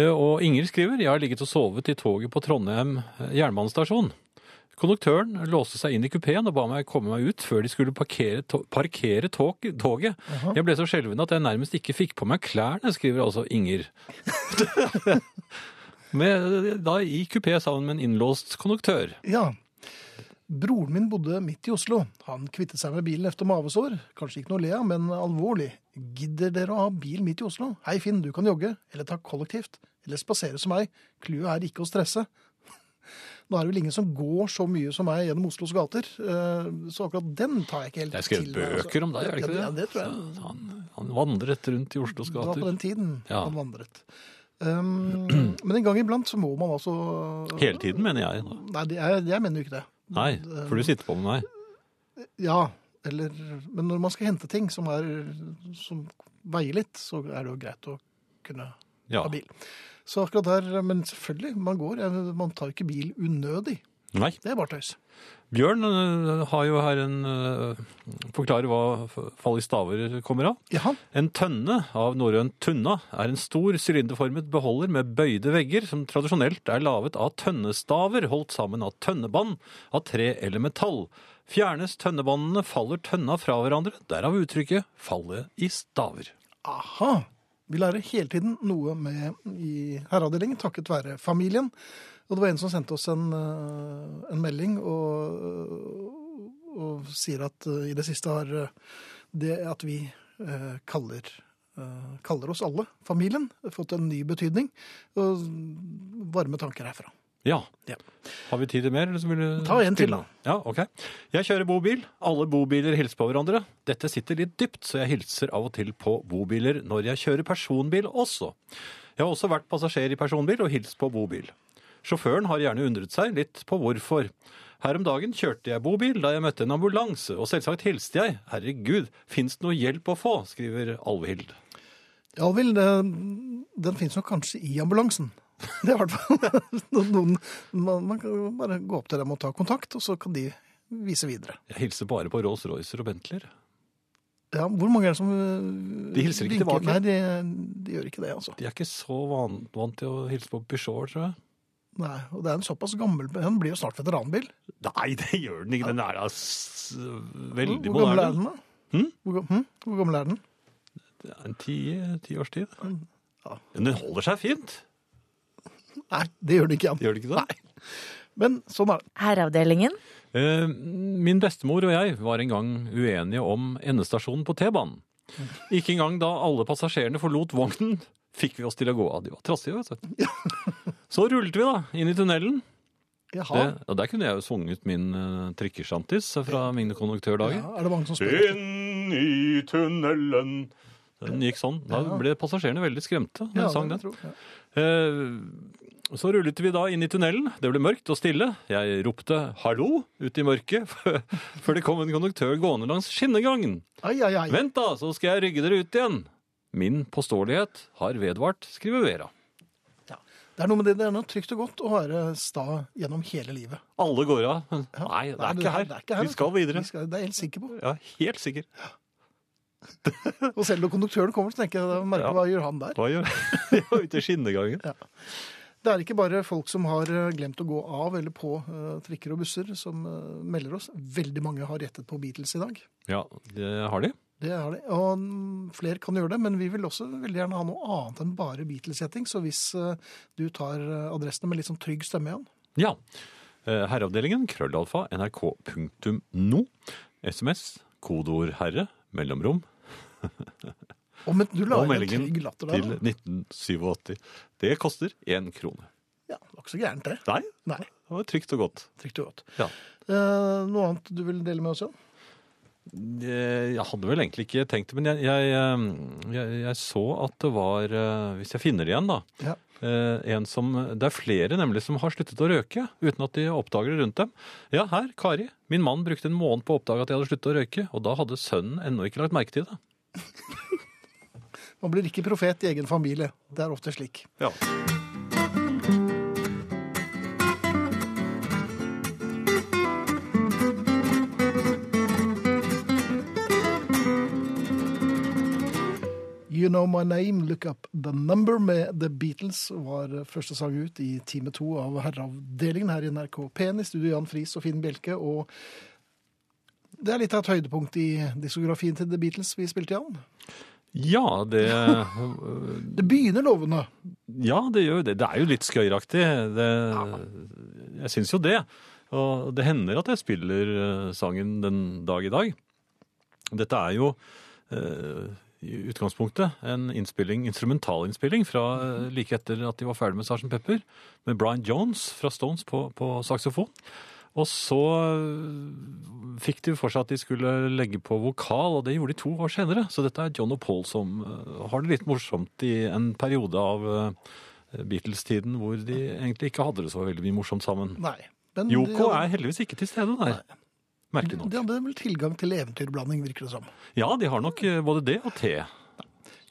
A: Eh, Og Inger skriver Jeg har ligget og sovet i toget på Trondheim eh, jernbanestasjon. Konduktøren låste seg inn i kupeen og ba meg komme meg ut før de skulle parkere, to parkere tog toget. Jeg ble så skjelven at jeg nærmest ikke fikk på meg klærne, skriver altså Inger. Med, da i kupé sammen med en innlåst konduktør.
B: Ja. Broren min bodde midt i Oslo. Han kvittet seg med bilen efter mavesår. Kanskje ikke noe å le av, men alvorlig. Gidder dere å ha bil midt i Oslo? Hei Finn, du kan jogge, eller ta kollektivt, eller spasere som meg. Clouet er ikke å stresse. [laughs] Nå er det vel ingen som går så mye som meg gjennom Oslos gater, eh, så akkurat den tar jeg ikke helt
A: Det er skrevet
B: meg, altså.
A: bøker om deg, er det ikke det?
B: Ja, det tror jeg.
A: Han, han vandret rundt i Oslos
B: Det var på
A: gater.
B: den tiden
A: Ja.
B: han vandret. Um, [clears throat] men en gang iblant så må man altså
A: Hele tiden, mener jeg. Da.
B: Nei, det er, jeg mener jo ikke det.
A: Nei, for du sitter på med meg.
B: Ja, eller Men når man skal hente ting som, er, som veier litt, så er det jo greit å kunne
A: Ja.
B: ha bil. Så akkurat der Men selvfølgelig, man går. Jeg- Man tar jo ikke bil unødig.
A: Nei.
B: Det er bare tøys.
A: Bjørn øh, har jo her en øh, Forklarer hva f- fall i staver kommer av.
B: Jaha.
A: En tønne av norrønt tunna er en stor sylinderformet beholder med bøyde vegger som tradisjonelt er laget av tønnestaver holdt sammen av tønnebånd av tre eller metall. Fjernes tønnebåndene, faller tønna fra hverandre, derav uttrykket 'falle i staver'.
B: Aha. Vi lærer hele tiden noe med i herreavdelingen, takket være familien. Og det var en som sendte oss en, eh, en melding og, og sier at eh, i det siste har eh, det at vi eh, kaller, eh, kaller oss alle familien, fått en ny betydning. Og varme tanker herfra.
A: Ja.
B: Ja.
A: Har vi tid til mer? Eller så vil du
B: Ta en til, da.
A: Ja, ok. Jeg kjører bobil. Alle bobiler hilser på hverandre. Dette sitter litt dypt, så jeg hilser av og til på bobiler når jeg kjører personbil også. Jeg har også vært passasjer i personbil og hilst på bobil. Sjåføren har gjerne undret seg litt på hvorfor. Her om dagen kjørte jeg bobil da jeg møtte en ambulanse, og selvsagt hilste jeg. Herregud, fins det noe hjelp å få? skriver Alvhild.
B: Ja vel, det- den finnes nok kanskje i ambulansen. Det er i hvert fall [laughs] noen man, man kan jo bare gå opp til dem og ta kontakt, og så kan de vise videre.
A: Jeg hilser bare på Rolls-Roycer og Bentler.
B: Ja, hvor mange er det som øh,
A: De hilser ikke
B: vinker?
A: tilbake.
B: Nei, de, de gjør ikke det, altså.
A: De er ikke så van vant til å hilse på Peugeot, tror jeg.
B: Nei, og det er en såpass gammel Den blir jo snart veteranbil.
A: Nei, det gjør den ikke. Den er da s- veldig
B: Hvor gammel er
A: moderne.
B: den, da? Hvor, ga- hm? hvor gammel er den?
A: Det er En ti, ti års tid.
B: Mm. Ja.
A: Men den holder seg fint.
B: Nei, det gjør den ikke. Jan.
A: Gjør den ikke det?
B: Men sånn er det.
C: Herreavdelingen.
A: Eh, Min bestemor og jeg var en gang uenige om endestasjonen på T-banen. Ikke engang da alle passasjerene forlot vognen, fikk vi oss til å gå av. De var trassige, vet du. [laughs] Så rullet vi da inn i tunnelen.
B: Jaha.
A: Det, og der kunne jeg jo sunget min uh, trikkeshantis fra mine konduktørdager.
B: Ja, er det mange som spør?
A: Inn i tunnelen. Den gikk sånn. Da ble passasjerene veldig skremte da
B: Ja,
A: jeg sang
B: det
A: den.
B: tror jeg. Ja.
A: Eh, Så rullet vi da inn i tunnelen. Det ble mørkt og stille. Jeg ropte 'hallo' ut i mørket [laughs] før det kom en konduktør gående langs skinnegangen.
B: Ai, ai, ai.
A: Vent da, så skal jeg rygge dere ut igjen. Min påståelighet har vedvart, skriver Vera.
B: Det er noe med det, det er noe trygt og godt å være sta gjennom hele livet.
A: Alle går av. men [laughs] Nei, det er ikke
B: det
A: her. altså.
B: er altså.
A: Vi skal videre.
B: Vi skal, det er jeg helt sikker på.
A: Ja, helt sikker.
B: Og selv når konduktøren kommer, så tenker jeg merke,
A: Ja.
B: hva gjør han der?
A: Hva [laughs] gjør jeg? Jeg er ute i skinnegangen.
B: Det er ikke bare folk som har eh, glemt å gå av eller på eh, trikker og busser som eh, melder oss. Veldig mange har rettet på Beatles i dag.
A: Ja, det har de.
B: Det har de. Og mm, flere kan gjøre det, men vi vil også veldig gjerne ha noe annet enn bare Beatles-setting. Så hvis eh, du tar eh, adressene med litt sånn trygg stemme igjen
A: Ja. Eh, Herreavdelingen, krøllalfa, nrk.no. SMS, kodeord 'herre', mellomrom,
B: Og men du
A: og
B: lager en
A: meldingen
B: trygg latter
A: til
B: der. da.
A: 1987. Det koster én krone.
B: Ja, det var ikke så gærent, det.
A: Nei, det
B: Nei,
A: var trygt og godt.
B: trygt og godt.
A: Ja.
B: Eh, noe annet du vil dele med oss igjen?
A: Eh, Jeg hadde vel egentlig ikke tenkt det, men jeg, jeg, eh, jeg, jeg så at det var eh, Hvis jeg finner det igjen, da.
B: Ja.
A: eh, en som Det er flere nemlig som har sluttet å røyke uten at de oppdager det rundt dem. Ja, her, Kari. Min mann brukte en måned på å oppdage at jeg hadde sluttet å røyke, og da hadde sønnen ennå ikke lagt merke til det.
B: Man blir ikke profet i egen familie. Det er ofte slik.
A: Ja.
B: You Know My Name, Look Up The Number med The Beatles var første sang ut i time to av Herreavdelingen her i NRK P1 i studio Jan Friis og Finn Bjelke. Og det er litt av et høydepunkt i diskografien til The Beatles vi spilte, Jan.
A: Ja, det, [laughs]
B: Det begynner lovende.
A: ja, det gjør jo det. Det er jo litt skøyeraktig. Det, jeg syns jo det. Og det hender at jeg spiller eh, sangen den dag i dag. Dette er jo eh, i utgangspunktet en innspilling, instrumentalinnspilling fra eh, like etter at de var ferdig med Sgt. Pepper, med Brian Jones fra Stones på, på saksofon. Og så eh, fikk de for seg at de skulle legge på vokal, og det gjorde de to år senere. Så dette er John og Paul som eh, har det litt morsomt i en periode av eh, Beatles-tiden hvor de egentlig ikke hadde det så veldig mye morsomt sammen.
B: Nei. Men
A: Yoko
B: de,
A: er heldigvis ikke til stede der. Merkelig
B: De
A: nok.
B: hadde vel tilgang til eventyrblanding, virker det som.
A: Ja, de har nok eh, både det og te.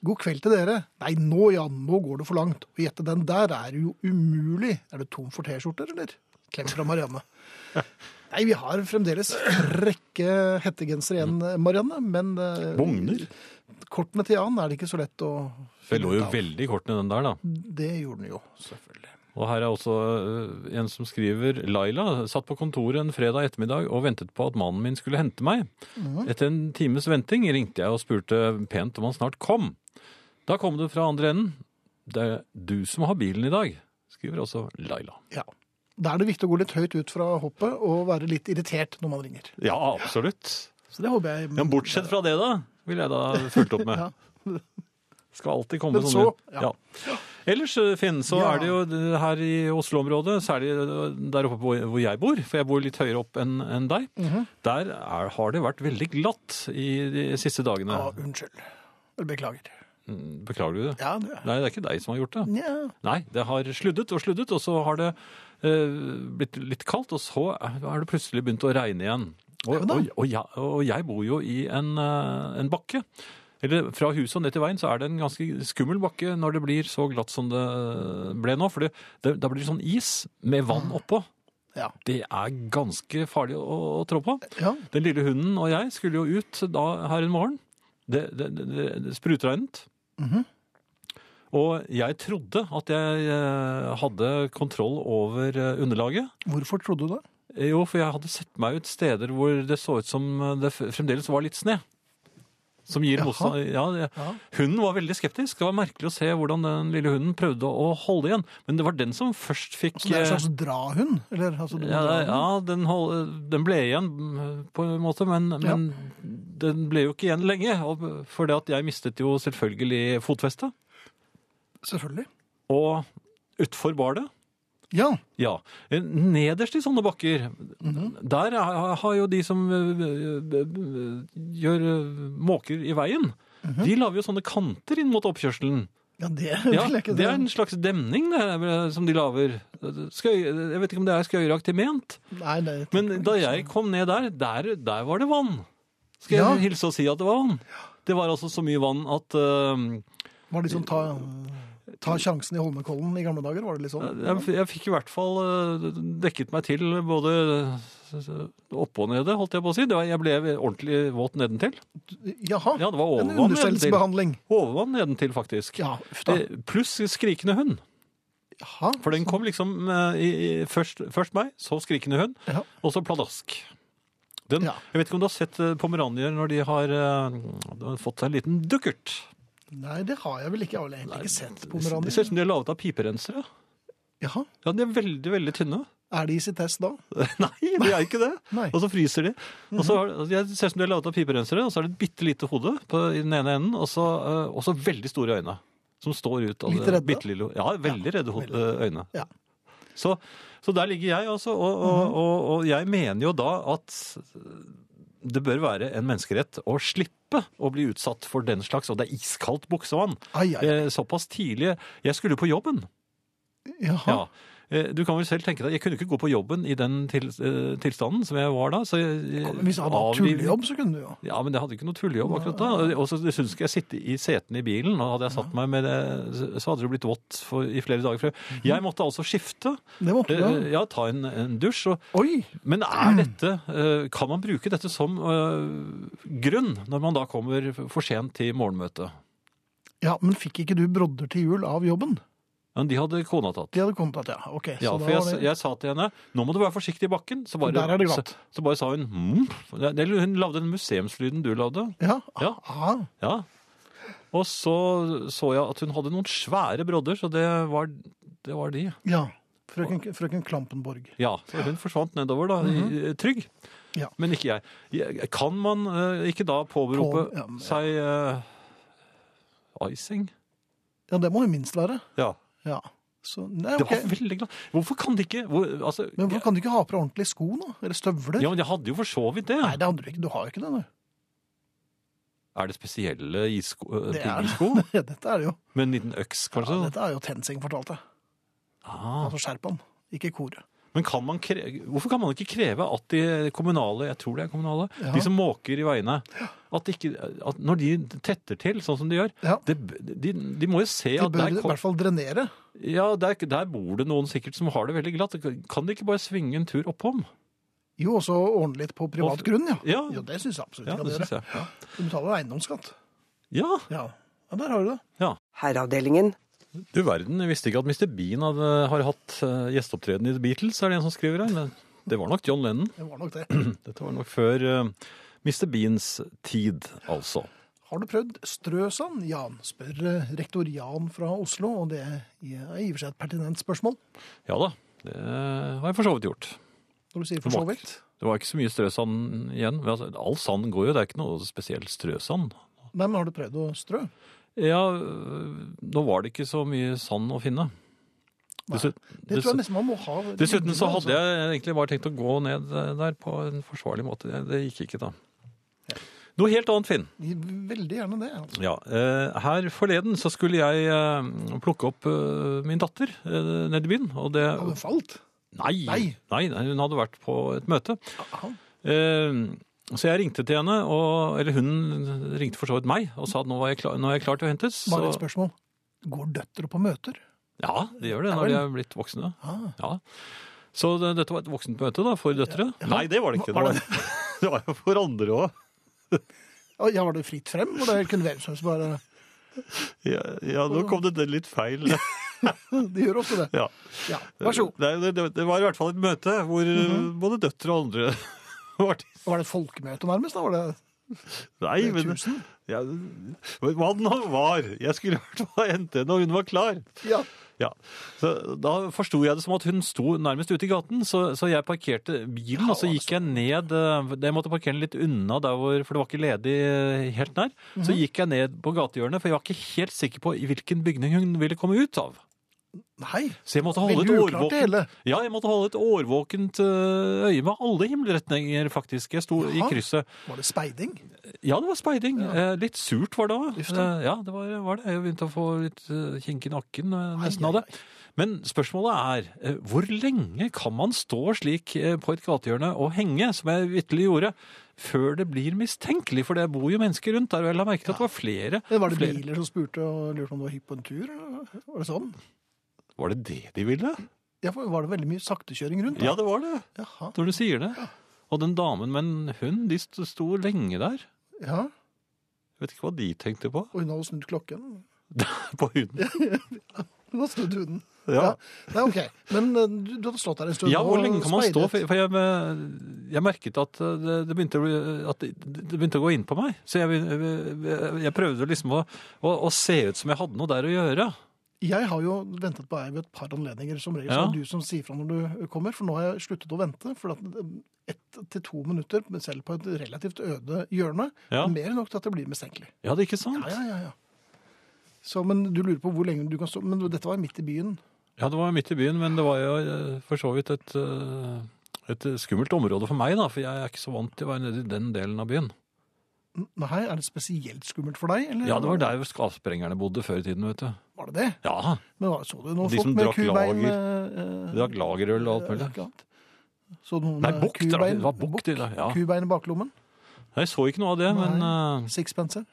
B: God kveld til dere. Nei, nå, Jan, nå går det for langt. Å gjette den der er jo umulig. Er det tom for T-skjorter, eller? Klem fra
A: [laughs]
B: Marianne. Nei, vi har fremdeles rekke hettegensere igjen,
A: Mm.
B: Marianne, men eh,
A: Bogner?
B: Kortene til Jan er det ikke så lett å
A: Det lå
B: ut
A: jo
B: av.
A: veldig i kortene, den der, da.
B: Det gjorde den jo, selvfølgelig.
A: Og her er også eh, en som skriver Laila satt på kontoret en fredag ettermiddag og ventet på at mannen min skulle hente meg. Etter en times venting ringte jeg og spurte pent om han snart kom. Da kom det fra andre enden. Det er du som har bilen i dag, skriver også Laila.
B: Ja. Da er det viktig å gå litt høyt ut fra hoppet og være litt irritert når man ringer.
A: Ja, absolutt.
B: Så det håper jeg.
A: Ja, bortsett fra det, da, vil jeg da fulgt opp
B: [laughs]
A: med.
B: Ja.
A: Skal alltid komme
B: Men
A: sånne
B: så, ja.
A: Ellers, eh, Finn, så
B: Ja.
A: er det jo det her i Oslo-området, særlig eh, der oppe hvor- hvor jeg bor, for jeg bor litt høyere opp enn enn deg,
B: Mhm.
A: der er, har det vært veldig glatt i de siste dagene. Mm,
B: ja, unnskyld. Eller beklager.
A: Beklager du det?
B: Ja, det
A: Nei, det er ikke deg som har gjort det.
B: Nja.
A: Nei, det har sluddet og sluddet, og så har det eh, blitt litt kaldt, og så har det plutselig begynt å regne igjen. Og,
B: Ja da.
A: og, og, jeg, og jeg bor jo i en, eh, en bakke. Eller fra huset og ned til veien så er det en ganske skummel bakke når det blir så glatt som det ble nå. For det, det, da blir det sånn is med vann oppå.
B: Ja.
A: Det er ganske farlig å, å trå på.
B: Ja.
A: Den lille hunden og jeg skulle jo ut da, her en morgen. Det, det, det, det sprutregnet.
B: Mhm.
A: Og jeg trodde at jeg eh, hadde kontroll over eh, underlaget.
B: Hvorfor trodde du det?
A: Eh, Jo, for jeg hadde sett meg ut steder hvor det så ut som eh, det f- fremdeles var litt sne. Som gir
B: Jaha.
A: motstand. Ja, det-
B: Ja.
A: Hunden var veldig skeptisk. Det var merkelig å se hvordan den lille hunden prøvde å holde igjen. Men det var den som først fikk
B: Så det er en
A: eh,
B: slags drahund? Eller, altså, du må
A: Ja,
B: dra
A: det-
B: den.
A: ja den, hold, den ble igjen mm, på en måte, men, men den ble jo ikke igjen lenge. og- For det at jeg mistet jo selvfølgelig fotfestet.
B: Selvfølgelig.
A: Og utfor bar det.
B: Ja,
A: Ja. Nederst i sånne bakker, der er- har jo de som øh, øh, øh, gjør øh, måker i veien, de lager jo sånne kanter inn mot oppkjørselen.
B: ja det
A: Ja,
B: vil jeg ikke
A: det er en slags demning det, eh, som de lager. Skøy, jeg vet ikke om det er skøyeraktig ment.
B: Nei, nei, jeg tror
A: Men
B: ikke
A: da
B: det.
A: jeg kom ned der, der, der var det vann. Skal jeg
B: Ja.
A: hilse og si at det var vann? Det var altså så mye vann at eh,
B: Var det liksom ta, ta sjansen i Holmenkollen i gamle dager? Var det litt sånn?
A: jeg, jeg fikk i hvert fall eh, dekket meg til både eh, oppe og nede, holdt jeg på å si. Det var, jeg ble ordentlig våt nedentil.
B: Jaha.
A: Ja, det var
B: en
A: overvann nedentil.
B: understellsbehandling.
A: Overvann nedentil, faktisk.
B: Ja, uff da.
A: Eh, Pluss skrikende hund.
B: Jaha.
A: For den kom liksom eh, i, i, først, først meg, så skrikende hund,
B: Ja.
A: og så pladask. Den,
B: Ja.
A: Jeg vet ikke om du har sett eh, pomeranier når de har eh, de har fått seg en liten dukkert.
B: Nei, det har jeg vel ikke. Jeg har vel egentlig ikke sett
A: Det ser ut
B: pomeranier.
A: som de er laget av piperensere.
B: Jaha.
A: Ja, de er veldig, veldig tynne. [laughs]
B: Er de i sitt test da?
A: Nei, de er ikke det.
B: Nei. Mhm.
A: Og så fryser de. Og så har, de ser ut som de er laget av piperensere, og så er det et bitte lite hode på, i den ene enden, og så, eh, og så veldig store øyne. Som står ut av
B: Litt
A: det
B: redde?
A: bitte lille Ja, veldig redde hode, øyne.
B: Ja.
A: Så, så der ligger jeg altså, og,
B: Mhm.
A: og, og, og jeg mener jo da at det bør være en menneskerett å slippe å bli utsatt for den slags, og det er iskaldt buksevann.
B: Ai, ai.
A: Eh, Såpass tidlig. Jeg skulle jo på jobben.
B: Jaha.
A: Ja. Eh, Du kan vel selv tenke deg, Jeg kunne ikke gå på jobben i den til, eh, tilstanden som jeg var da. Så jeg,
B: Men Hvis du hadde hatt
A: avliv-
B: tullejobb, så kunne du jo.
A: Ja, men jeg hadde ikke noe tullejobb akkurat da. Og så syntes ikke jeg sitte i setene i bilen. Og hadde jeg satt meg med det, så hadde det blitt vått for, i flere dager. frem. Jeg måtte altså skifte.
B: Det Mhm. måtte du.
A: Eh, Ja, ta en, en dusj. Og,
B: Oi!
A: men er dette eh, Kan man bruke dette som eh, grunn når man da kommer for sent til morgenmøtet?
B: Ja, men fikk ikke du brodder til jul av jobben?
A: Men de hadde kona tatt.
B: De hadde kommet at, ja, ok.
A: Ja,
B: så da
A: for jeg,
B: var det-
A: jeg sa til henne nå må du være forsiktig i bakken. Så bare,
B: Der er det
A: så,
B: glatt.
A: så bare sa hun mm. Eller hun lagde den museumslyden du lagde.
B: Ja,
A: Ja.
B: aha.
A: Ja. Og så så jeg at hun hadde noen svære brodder, så det var, det var de.
B: ja. Frøken, frøken Klampenborg.
A: Ja, så hun forsvant nedover da, i-
B: Mhm.
A: trygg.
B: Ja.
A: Men ikke jeg. jeg. Kan man eh, ikke da
B: På-
A: påberope
B: ja, men-
A: seg eh, icing?
B: Ja, det må jo minst være.
A: Ja.
B: Ja. Så, nei,
A: Det
B: ok.
A: var veldig glad. Hvorfor kan de ikke hvor, altså,
B: Men hvorfor kan du ikke ha på deg ordentlig sko nå? Eller støvler?
A: Ja, men jeg hadde jo for så vidt det.
B: Nei, det hadde du ikke. Du har jo ikke det [laughs] nå.
A: Er det spesielle isko, eh,
B: Det er-
A: piggsko?
B: Dette er jo,
A: Med en liten øks,
B: [laughs] ja,
A: kanskje?
B: dette er jo TenSing fortalte.
A: ah.
B: Altså skjerpan, ikke koret.
A: Men kan man kre... hvorfor kan man ikke kreve at de kommunale, jeg tror det er kommunale,
B: Ja.
A: de som måker i veiene, at, ikke, at når de tetter til sånn som de gjør,
B: Ja.
A: det, de, de må jo se
B: De
A: at
B: bør
A: der,
B: i
A: kom-
B: hvert fall drenere.
A: ja, der, der bor det noen sikkert som har det veldig glatt. Kan de ikke bare svinge en tur oppom?
B: Jo, også ordne litt på privat
A: Og-
B: grunn, ja.
A: Ja,
B: Jo, det syns jeg absolutt
A: ja
B: du kan
A: det syns
B: gjøre.
A: jeg.
B: Du betaler eiendomsskatt.
A: Ja,
B: Ja. ja, der har du det.
F: Herreavdelingen.
A: du verden, jeg visste ikke at Mr. Bean hadde, har hatt eh, gjesteopptreden i The Beatles, er det en som skriver her. Men det var nok John Lennon.
B: Det var nok det.
A: Dette var nok før eh, Mr. Beans tid, altså.
B: Har du prøvd strøsand, Jan? spør eh, rektor Jan fra Oslo, og det er i og for seg et pertinent spørsmål.
A: Ja da, det har jeg for så vidt gjort.
B: Når du sier for så
A: Vakt.
B: vidt.
A: Det var ikke så mye strøsand igjen. Men altså, all sand går jo, det er ikke noe spesielt strøsand.
B: Nei, men har du prøvd å strø?
A: Ja, øh, nå var det ikke så mye sand å finne. Dessuten,
B: Det tror jeg nesten man må ha.
A: dessuten så hadde jeg egentlig bare tenkt å gå ned der på en forsvarlig måte. Det- Det gikk ikke da. Noe helt annet, Finn.
B: jeg Veldig gjerne det. altså.
A: Ja, eh, her forleden så skulle jeg eh, plukke opp eh, min datter eh, nede i byen. Og det,
B: Hadde det falt?
A: nei,
B: Nei.
A: nei, nei, hun hadde vært på et møte.
B: Aha.
A: Eh, Så jeg ringte til henne, og, eller hun ringte for så vidt meg, og sa at nå, var jeg klar, nå er jeg klar til å hentes. Så,
B: Bare et spørsmål. Går døtre på møter?
A: ja, de gjør det når de er blitt voksne.
B: Ah.
A: Ja. Så det, dette var et voksent møte da, for døtre? Nei, det var det ikke.
B: Var
A: Det var, [laughs] det var jo for andre òg.
B: Ja, ja, var det fritt frem? Og det kunne hvem som helst bare [laughs]
A: Ja, ja, nå kom det litt feil.
B: De gjør ofte det.
A: Ja.
B: Ja, Vær så god. Mhm.
A: Nei, det, det, det var i hvert fall et møte hvor eh, både døtre og andre [laughs] var til
B: Var det et folkemøte nærmest? da? Var det eh,
A: Nei, men
B: tusen?
A: ja, men Hva den nå var. Jeg skulle i hvert fall hente henne, og hun var klar.
B: Ja.
A: Ja, så Da forsto jeg det som at hun sto nærmest ute i gaten, så, så jeg parkerte bilen. og
B: altså.
A: så gikk jeg ned eh, Jeg måtte parkere den litt unna, der hvor, for det var ikke ledig eh, helt nær.
B: Mhm.
A: Så gikk jeg ned på gatehjørnet, for jeg var ikke helt sikker på i hvilken bygning hun ville komme ut av.
B: Nei.
A: Så jeg måtte holde et
B: Veldig uklart det
A: årvåkent,
B: hele.
A: ja, jeg måtte holde et årvåkent eh, øye med alle himmelretninger, faktisk. Jeg sto i
B: Jaha.
A: krysset.
B: Var det speiding?
A: Ja, det var speiding. Eh, Litt surt var det òg.
B: Uff da.
A: Ja, det var, var det. Jeg begynte å få litt eh, kink i nakken eh,
B: Ai,
A: nesten av det. Men spørsmålet er eh, hvor lenge kan man stå slik eh, på et gatehjørne og henge, som jeg vitterlig gjorde, før det blir mistenkelig? For det bor jo mennesker rundt der, og jeg la merke til at det var flere.
B: Eller var det
A: flere.
B: biler som spurte og lurte om du var hypp på en tur? eller Var det sånn?
A: Var det det de ville?
B: Ja, for Var det veldig mye saktekjøring rundt?
A: Ja,
B: da?
A: det var det.
B: Jaha.
A: Når du sier det. Og den damen med en hund, de st- sto lenge der.
B: Ja.
A: Jeg vet ikke hva de tenkte på. [laughs]
B: Og hun hadde snudd klokken.
A: På hunden.
B: Hun hadde snudd hunden.
A: Ja.
B: Nei, ok. Men eh, du, du hadde stått der en stund.
A: Ja, hvor
B: og
A: lenge kan man stå?
B: speidet.
A: For for jeg, eh, jeg merket at det, det, begynte, å bli- at det, det begynte å gå inn på meg. Så jeg, jeg, jeg prøvde liksom å, å, å se ut som jeg hadde noe der å gjøre.
B: Jeg har jo ventet på deg ved et par anledninger. Som regel
A: Ja.
B: så er det du som sier fra når du kommer, for nå har jeg sluttet å vente. For at eh, ett til to minutter, men selv på et relativt øde hjørne,
A: Ja.
B: er mer enn nok til at det blir mistenkelig.
A: Ja, det er ikke sant?
B: Ja, ja, ja, ja. Så, men du lurer på hvor lenge du kan stå. Men dette var midt i byen.
A: Ja, det var midt i byen, men det var jo eh, for så vidt et, eh, et skummelt område for meg, da. For jeg er ikke så vant til å være nede i den delen av byen.
B: Nei, er det spesielt skummelt for deg? Eller?
A: Ja, det var der jo skapsprengerne bodde før i tiden, vet du.
B: Var det det?
A: Ja,
B: Men hva- så du noen
A: De
B: folk
A: som
B: med
A: drakk
B: kubein? eh,
A: de drakk lagerøl og alt mulig.
B: Så noen
A: Nei,
B: med
A: bukk drakk de.
B: kubein-
A: Det var bukk de da, ja.
B: kubein i baklommen?
A: Jeg så ikke noe av det, men eh,
B: Sixpencer?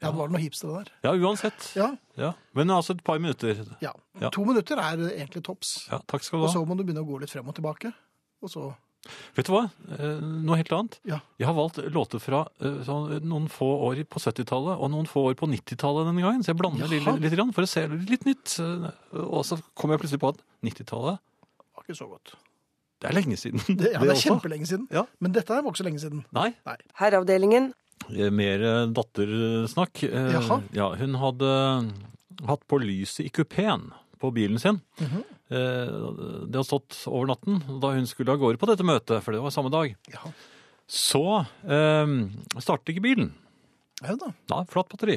B: Ja, det var noen hipstere der.
A: Ja, uansett.
B: Ja,
A: Ja. Men altså et par minutter.
B: ja.
A: Ja.
B: To minutter er eh, egentlig topps.
A: Ja, takk skal du
B: Og
A: ha.
B: så må du begynne å gå litt frem og tilbake. Og så
A: Vet du hva? Eh, Noe helt annet.
B: Ja.
A: Jeg har valgt låter fra eh, sånn noen få år på 70-tallet og noen få år på 90-tallet denne gangen. Så jeg blander litt,
B: Jaha.
A: litt grann for å se litt nytt. Eh, Og så kom jeg plutselig på at 90-tallet,
B: var ikke så godt.
A: [laughs] det er lenge siden.
B: Det, ja, det er
A: også.
B: kjempelenge siden.
A: Ja.
B: Men dette her var ikke så lenge siden.
A: Nei,
F: Herreavdelingen.
A: eh, mer eh, dattersnakk. Eh,
B: Jaha.
A: Ja, hun hadde eh, hatt på lyset i kupeen på bilen sin. Eh, Det hadde stått over natten da hun skulle av gårde på dette møtet, for det var samme dag.
B: Ja,
A: Så eh, startet ikke bilen.
B: ja da.
A: Nei, flatt batteri.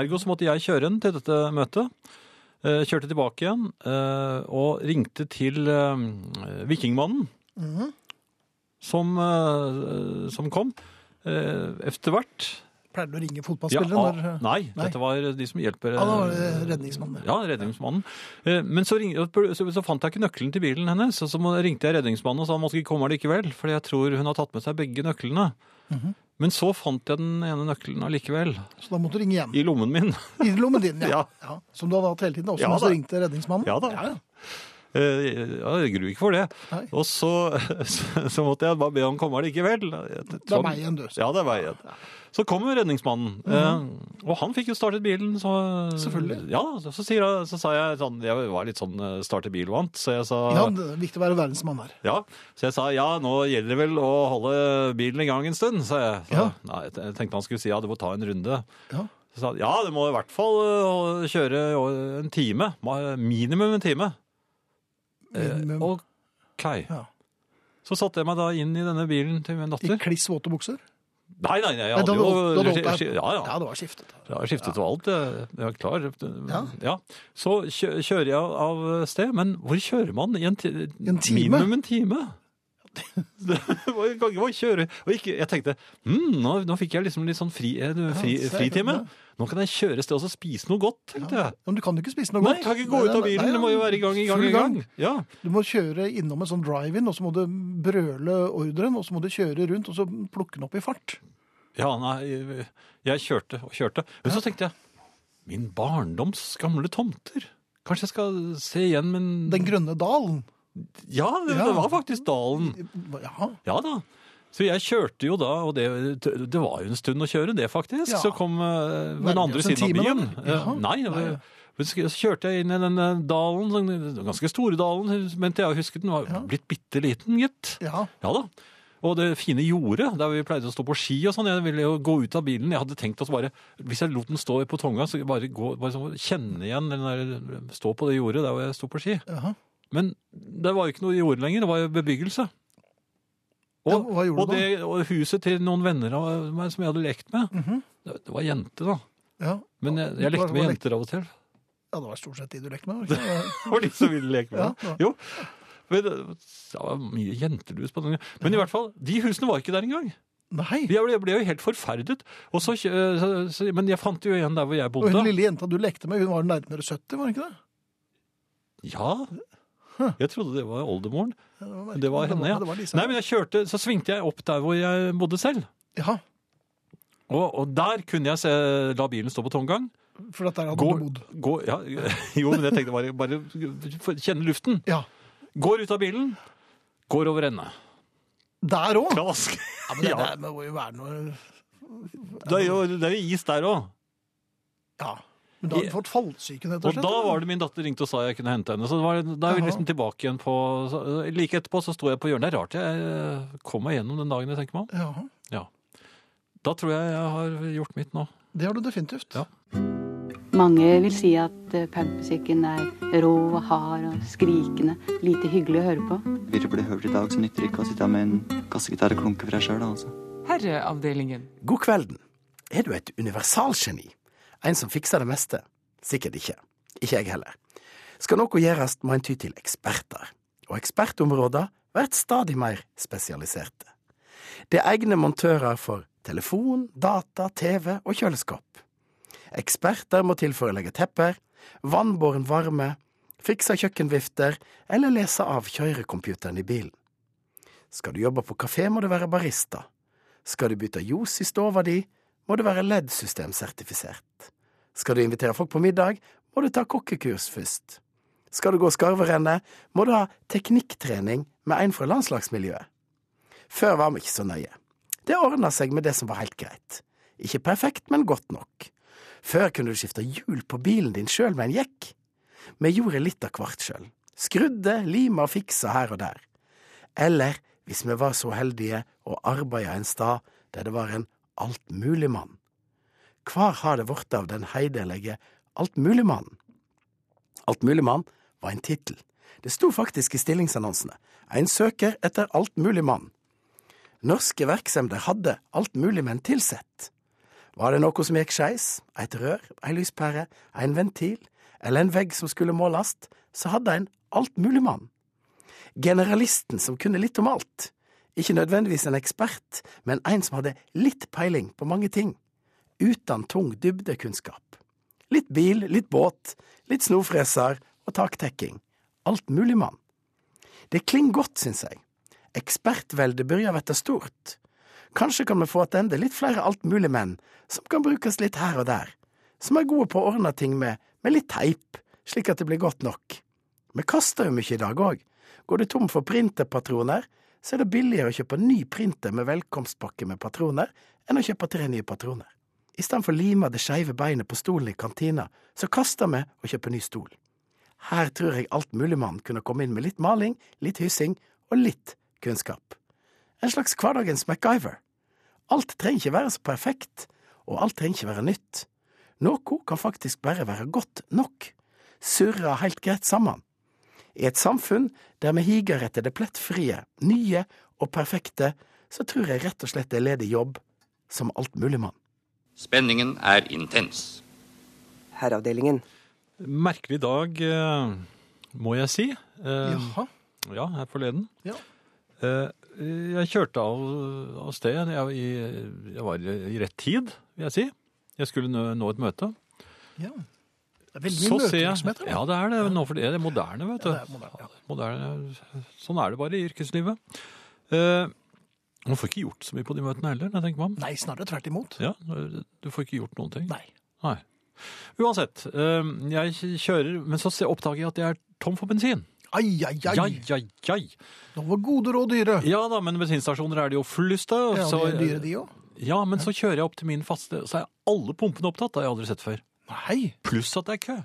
A: Ergo så måtte jeg kjøre den til dette møtet. Eh, Kjørte tilbake igjen eh, og ringte til eh, Vikingmannen som, eh, som kom. Eh, Etter hvert
B: Pleier du å ringe
A: Ja,
B: fotballspillere
A: ah,
B: når eh,
A: nei,
B: nei.
A: dette var de som hjelper eh,
B: Ja, da var det redningsmannen.
A: Ja, redningsmannen. Eh, Men så, ring, så, så fant jeg ikke nøkkelen til bilen hennes, og så må- ringte jeg redningsmannen og sa han måtte ikke komme likevel, fordi jeg tror hun har tatt med seg begge nøklene.
B: Mhm.
A: Men så fant jeg den ene nøkkelen allikevel,
B: Så da måtte du ringe igjen.
A: i lommen min. [laughs]
B: I lommen din, ja.
A: Ja.
B: ja. Som du hadde hatt hele tiden, også
A: Ja,
B: mens du
A: da.
B: ringte redningsmannen.
A: Ja da. Eh, Ja, jeg gruer ikke for det.
B: Nei.
A: Og så, [laughs] så, så måtte jeg bare be han komme likevel.
B: Det er meg igjen, du.
A: Sånn. Ja, det er meg igjen. Så kom jo redningsmannen, eh, og han fikk jo startet bilen. Så,
B: Selvfølgelig.
A: Ja, så, sier jeg, så sa jeg sånn, jeg var litt sånn eh, starte bil-vant, så jeg sa
B: Ja, det er viktig å være verdensmann her.
A: ja, så jeg sa ja, nå gjelder det vel å holde bilen i gang en stund, sa jeg. Så,
B: Ja.
A: Nei, jeg te- jeg tenkte han skulle si ja, du må ta en runde.
B: Ja.
A: Så sa han ja, du må i hvert fall øh, kjøre øh, en time. ma- Minimum en time. Eh,
B: Minimum.
A: OK.
B: Ja.
A: Så satte jeg meg da inn i denne bilen til min
B: I
A: datter.
B: kliss våte bukser.
A: Nei, nei, nei, jeg
B: Nei, da
A: hadde
B: hadde du- da
A: jo
B: hadde du holdt deg.
A: Ja, ja.
B: Ja, det var skiftet.
A: Jeg har skiftet og alt. jeg- Jeg er klar.
B: Ja.
A: Ja. Så kjø- kjører jeg av sted, men hvor kjører man i en, ti
B: En time?
A: Minimum en time. Det var en gang jeg var kjøre. Og ikke, jeg tenkte hm, nå, nå fikk jeg liksom litt sånn fri, eh, fri,
B: Ja, se,
A: fritime. Nå kan jeg kjøre et sted og så spise noe godt, tenkte jeg.
B: Men du kan jo ikke spise noe
A: Nei,
B: godt.
A: jeg kan ikke gå ut av
B: Nei,
A: bilen.
B: nei,
A: Det må jo være i gang, i gang,
B: full
A: i gang. Ja.
B: Du må kjøre innom en sånn drive-in, og så må du brøle ordren, og så må du kjøre rundt, og så plukke den opp i fart.
A: Ja, nei, jeg kjørte og kjørte. Men så tenkte jeg, min barndoms gamle tomter. Kanskje jeg skal se igjen min
B: Den grønne dalen.
A: Ja, det,
B: Ja.
A: det var faktisk dalen.
B: Ja,
A: Ja da. Så jeg kjørte jo da, og det, det var jo en stund å køre det, faktisk.
B: Ja.
A: Så kom eh, på
B: Nærmer
A: den andre
B: oss en
A: siden
B: time,
A: av byen.
B: da,
A: Eh,
B: eller? Jaha.
A: Nei, det var- men så kjørte jeg inn i den eh, dalen, den ganske store dalen, mente jeg å huske den var blitt bitte liten, gitt.
B: ja.
A: Ja da. Og det fine jordet, der vi pleide å stå på ski og sånn. Jeg ville jo gå ut av bilen. Jeg hadde tenkt å bare Hvis jeg lot den stå på tunga, så bare, gå, bare sånn, kjenne igjen den der Stå på det jordet der hvor jeg sto på ski.
B: Jaha.
A: Men det var jo ikke noe jord lenger. Det var jo bebyggelse.
B: Ja, hva gjorde
A: og,
B: du da?
A: det, og huset til noen venner av meg som jeg hadde lekt med. det, det var jente, da.
B: ja.
A: Men jeg,
B: Mhm. Hva-
A: jeg lekte
B: hva
A: med
B: lekte-
A: jenter av og [laughs] til.
B: Ja, det var stort sett de du lekte med. var det
A: [laughs]
B: ikke?
A: Det var de som ville leke med
B: Ja,
A: det. Jo. Men eh, det var mye jentelus på den gangen. Men i hvert fall, de husene var ikke der engang.
B: Nei.
A: Jeg ble, jeg ble jo helt forferdet. Og så, kjø- eh, så, så, men jeg fant jo igjen der hvor jeg
B: Og hun
A: bodde.
B: lille jenta du lekte med, hun var nærmere 70, var hun ikke det?
A: Ja. Jeg trodde det var oldemoren.
B: Ja,
A: Det var henne, ja.
B: Det var Lisa.
A: Nei, men jeg kjørte, så svingte jeg opp der hvor jeg bodde selv.
B: Ja,
A: Og, og der kunne jeg se, la bilen stå på tomgang.
B: for at der hadde
A: Gå,
B: du bodd.
A: gå, ja, [laughs] jo, men jeg tenkte bare, bare få kjenne luften.
B: Ja.
A: Går ut av bilen, går over ende.
B: Der òg?
A: Klask!
B: Ja, men det,
A: Ja.
B: det må jo være noe
A: Det er jo det er jo is der òg.
B: Ja. Men da hadde du fått fallsyken, rett
A: Og
B: og slett.
A: da var det min datter ringte og sa jeg kunne hente henne. Så det var, da er vi
B: Jaha.
A: liksom tilbake igjen på så, Like etterpå så sto jeg på hjørnet. Det er rart jeg eh, kom meg gjennom den dagen jeg tenker meg om.
B: Ja,
A: Da tror jeg jeg har gjort mitt nå.
B: det har du definitivt.
A: Ja.
G: Mange vil si at eh, punkmusikken er rå og hard og skrikende. Lite hyggelig å høre på.
H: Vil du bli hørt i dag, så nytter det ikke å sitte med en kassegitar og klunke for deg sjøl, altså.
I: Herreavdelingen.
J: God kvelden. Er du et universalgeni? En som fikser det meste? Sikkert ikke. Ikke jeg heller. Skal noe gjøres, må en ty til eksperter. Og ekspertområder blir stadig mer spesialiserte. Det er egne montører for telefon, data, TV og kjøleskap. Eksperter må tilforelegge tepper, vannbåren varme, fikse kjøkkenvifter eller lese av kjørecomputeren i bilen. Skal du jobbe på kafé, må du være barista. Skal du bytte ljos i stova di, må du være LED-systemsertifisert. Skal du invitere folk på middag, må du ta kokkekurs først. Skal du gå skarverennet, må du ha teknikktrening med en fra landslagsmiljøet. Før var vi ikke så nøye. Det ordna seg med det som var helt greit. Ikke perfekt, men godt nok. Før kunne du skifte hjul på bilen din sjøl med en jekk. Vi gjorde litt av hvert sjøl. Skrudde, lima og fiksa her og der. Eller, hvis vi var så heldige og arbeida en stad der det var en altmuligmann. Hvar har det blitt av den heiderlige altmuligmannen? Altmuligmann var en tittel. Det sto faktisk i stillingsannonsene. En søker etter altmuligmann. Norske virksomheter hadde altmuligmenn tilsett. Var det noe som gikk skeis, et rør, ei lyspære, en ventil eller en vegg som skulle måles, så hadde en altmuligmann. Generalisten som kunne litt om alt. Ikke nødvendigvis en ekspert, men en som hadde litt peiling på mange ting. Uten tung dybdekunnskap. Litt bil, litt båt, litt snofreser og taktekking. Alt mulig, mann. Det klinger godt, syns jeg. Ekspertveldet begynner å bli stort. Kanskje kan vi få tilbake litt flere altmuligmenn som kan brukes litt her og der, som er gode på å ordne ting med, med litt teip, slik at det blir godt nok. Vi kaster jo mye i dag òg. Går du tom for printerpatroner, så er det billigere å kjøpe ny printer med velkomstpakke med patroner enn å kjøpe tre nye patroner. Istedenfor å lime det skeive beinet på stolen i kantina, så kaster vi og kjøper ny stol. Her tror jeg altmuligmannen kunne komme inn med litt maling, litt hyssing og litt kunnskap. En slags hverdagens MacGyver. Alt trenger ikke være så perfekt, og alt trenger ikke være nytt. Noe kan faktisk bare være godt nok. Surre helt greit sammen. I et samfunn der vi higer etter det plettfrie, nye og perfekte, så tror jeg rett og slett det er ledig jobb som altmuligmann.
F: Spenningen er intens.
I: Herreavdelingen.
A: Merkelig dag, eh, må jeg si. Eh,
B: Jaha.
A: Ja, her forleden.
B: Ja.
A: Eh, Jeg kjørte av, av sted. Jeg, i- jeg var i rett tid, vil jeg si. Jeg skulle nå, nå et møte.
B: ja. Det er veldig mye møtevirksomhet. eller?
A: Ja, det er det. Nå, for det er moderne, vet du.
B: Ja, det er moderne, ja.
A: moderne. Sånn er det bare i yrkeslivet. Eh, Man får ikke gjort så mye på de møtene heller, når jeg tenker meg om.
B: Nei, snarere tvert imot.
A: Ja, du får ikke gjort noen ting.
B: Nei.
A: Nei. Uansett, eh, jeg kjører, men så se- oppdager jeg at jeg er tom for bensin.
B: Ai, ai, ai.
A: Jai, jai, jai.
B: Nå var gode råd dyre.
A: Ja da, men bensinstasjoner er det jo flust av.
B: Ja, de
A: så-
B: er dyre, de òg.
A: Ja, men så kjører jeg opp til min faste, så er alle pumpene opptatt. Det har jeg aldri sett før.
B: Nei.
A: Pluss at det er kø.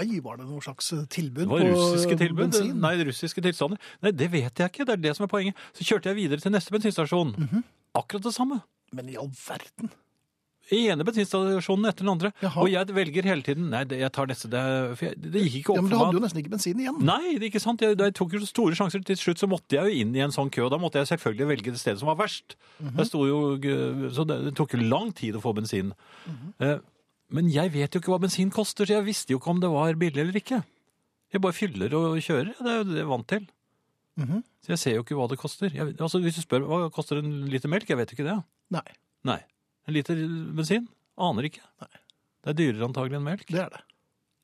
B: Ai, var det noe slags eh, tilbud
A: Det var
B: på
A: russiske tilbud.
B: bensin?
A: Nei, russiske tilstander. Nei, det vet jeg ikke. Det er det som er poenget. Så kjørte jeg videre til neste bensinstasjon.
B: Mhm.
A: Akkurat det samme.
B: Men i all verden.
A: I ene bensinstasjonen etter den andre.
B: Jaha.
A: Og jeg velger hele tiden Nei, det, jeg tar neste. Det, for jeg, det gikk
B: Ja,
A: ikke opp
B: men du
A: for
B: hadde
A: meg.
B: jo nesten ikke bensin igjen.
A: Nei, det er ikke sant. Jeg, jeg tok jo så store sjanser. Til slutt så måtte jeg jo inn i en sånn kø, og da måtte jeg selvfølgelig velge det stedet som var verst.
B: Mhm.
A: Jeg sto jo, g- Så det, det tok jo lang tid å få bensin.
B: Mhm.
A: Eh, Men jeg vet jo ikke hva bensin koster, så jeg visste jo ikke om det var billig eller ikke. Jeg bare fyller og kjører. Det er jo det jeg er vant til.
B: Mhm.
A: Så jeg ser jo ikke hva det koster. Jeg, altså, hvis du spør hva koster en liter melk, jeg vet jo ikke det.
B: Nei,
A: Nei. En liter bensin? Aner ikke. Det er dyrere antagelig enn melk.
B: det er det.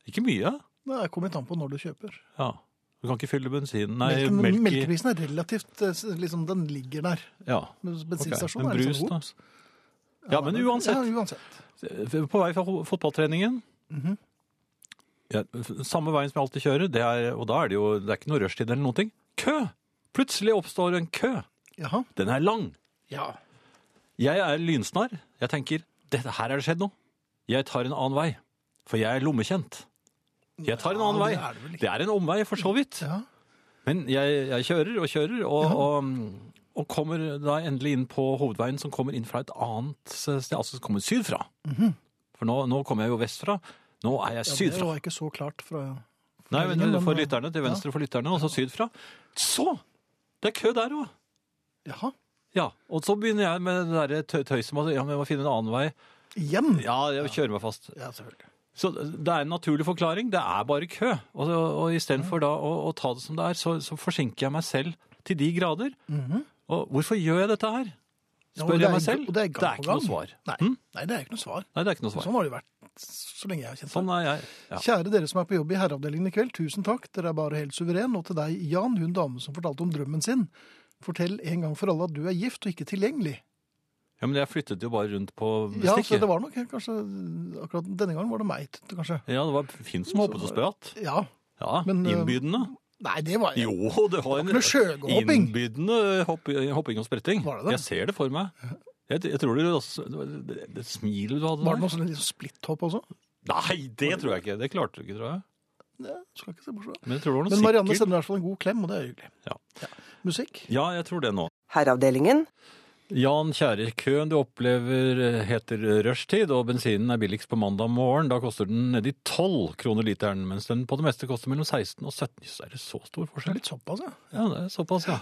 A: Ikke mye.
B: Det er kommet an på når du kjøper.
A: Ja. Du kan ikke fylle bensin Nei,
B: Melken,
A: melk i
B: melkeprisen er relativt eh, liksom, Den ligger der.
A: Ja.
B: Mens
A: Ok,
B: bensinstasjonen er
A: men brus,
B: liksom god.
A: da. Ja, men uansett. eh,
B: Ja, uansett.
A: På vei fra ho- fotballtreningen
B: Mhm.
A: ja, f- Samme veien som jeg alltid kjører, det er, og da er det jo det er ikke noe rushtid eller noen ting. Kø! Plutselig oppstår en kø.
B: Jaha.
A: Den er lang.
B: Ja.
A: Jeg er lynsnar. Jeg tenker dette her er det skjedd noe. Jeg tar en annen vei, for jeg er lommekjent. Jeg tar en annen
B: Ja, det
A: vei.
B: er det vel ikke.
A: Det er en omvei, for så vidt.
B: Ja.
A: Men jeg, jeg kjører og kjører, og, og, og kommer da endelig inn på hovedveien som kommer inn fra et annet sted, altså som kommer sydfra. For nå, nå kommer jeg jo vestfra. Nå
B: Mhm. Ja,
A: er jeg
B: det
A: sydfra.
B: var ikke så klart fra
A: Nei, men
B: meldingen,
A: for
B: men-
A: lytterne, til venstre for lytterne, og så sydfra. Så! Det er kø der òg.
B: Jaha.
A: Ja, og så begynner jeg med det derre tø- tøyset med at ja, men jeg må finne en annen vei.
B: Igjen?
A: Ja, jeg kjører meg fast.
B: Ja, selvfølgelig.
A: Så det er en naturlig forklaring. Det er bare kø. Og, og istedenfor da å, å ta det som det er, så, så forsinker jeg meg selv til de grader. Og hvorfor gjør jeg dette her?
B: Mhm. Ja, og
A: Spør
B: det er-
A: jeg meg selv?
B: og det er, gang
A: ikke
B: på gang.
A: noe svar.
B: Nei.
A: Hm?
B: Nei, det er ikke noe svar.
A: Nei, det er ikke noe svar.
B: Sånn har det jo vært så lenge jeg har kjent deg.
A: Sånn er jeg. Ja.
B: Kjære dere som er på jobb i herreavdelingen i kveld, tusen takk, dere er bare helt suveren. Og til deg, Jan, hun dame som fortalte om drømmen sin. Fortell en gang for alle at du er gift og ikke tilgjengelig.
A: ja, men jeg flyttet jo bare rundt på
B: Ja, så
A: bestikket.
B: det var nok kanskje Akkurat denne gangen var det meg, t- kanskje.
A: Ja, det var Finn som hoppet og spratt.
B: Ja.
A: Ja,
B: Men, eh,
A: Innbydende.
B: Nei, det var jeg.
A: Jo, det var en
B: Noe sjøhopping.
A: innbydende hopp, hopping og spretting.
B: Var det det?
A: Jeg ser det for meg. Jeg, jeg tror det, også, det, var- det, det smilet du hadde
B: Var det
A: der
B: noe sånn litt splitthopp også?
A: Nei, det tror jeg ikke. Det klarte du ikke, tror jeg.
B: Ja, skal ikke se bort fra det.
A: Men jeg tror det var noe
B: Men Marianne
A: sikkert.
B: sender i hvert fall en god klem, og det er hyggelig.
A: Ja.
B: Musikk?
A: Ja, jeg tror det nå.
I: Herreavdelingen.
A: Jan Kjære, køen du opplever eh, heter rushtid, og bensinen er billigst på mandag morgen. Da koster den nedi 12 kroner literen, mens den på det meste koster mellom 16 og 17. Jøss, er det så stor
B: Det er
A: forskjell?
B: litt altså. såpass, ja.
A: Ja, det er såpass, ja.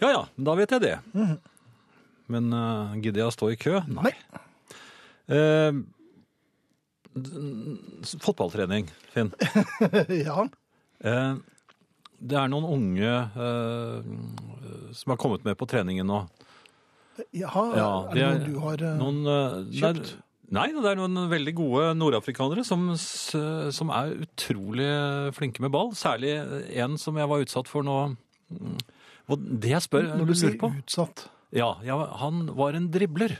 A: Ja ja, da vet jeg det.
B: Mhm.
A: Men eh, gidder jeg å stå i kø? Nei. Eh, n- s- fotballtrening, Finn.
B: [laughs] ja.
A: Eh, det er noen unge eh, som har kommet med på treningen nå.
B: Jaha,
A: Ja,
B: er det
A: det er-
B: noe du har eh,
A: Noen, eh,
B: kjøpt?
A: det er- Nei, det er noen veldig gode nordafrikanere som, s- som er utrolig flinke med ball. Særlig en som jeg var utsatt for nå. mm, hvor- Det jeg spør,
B: Når du
A: lurer
B: sier
A: på
B: utsatt
A: ja, ja, Han var en dribler.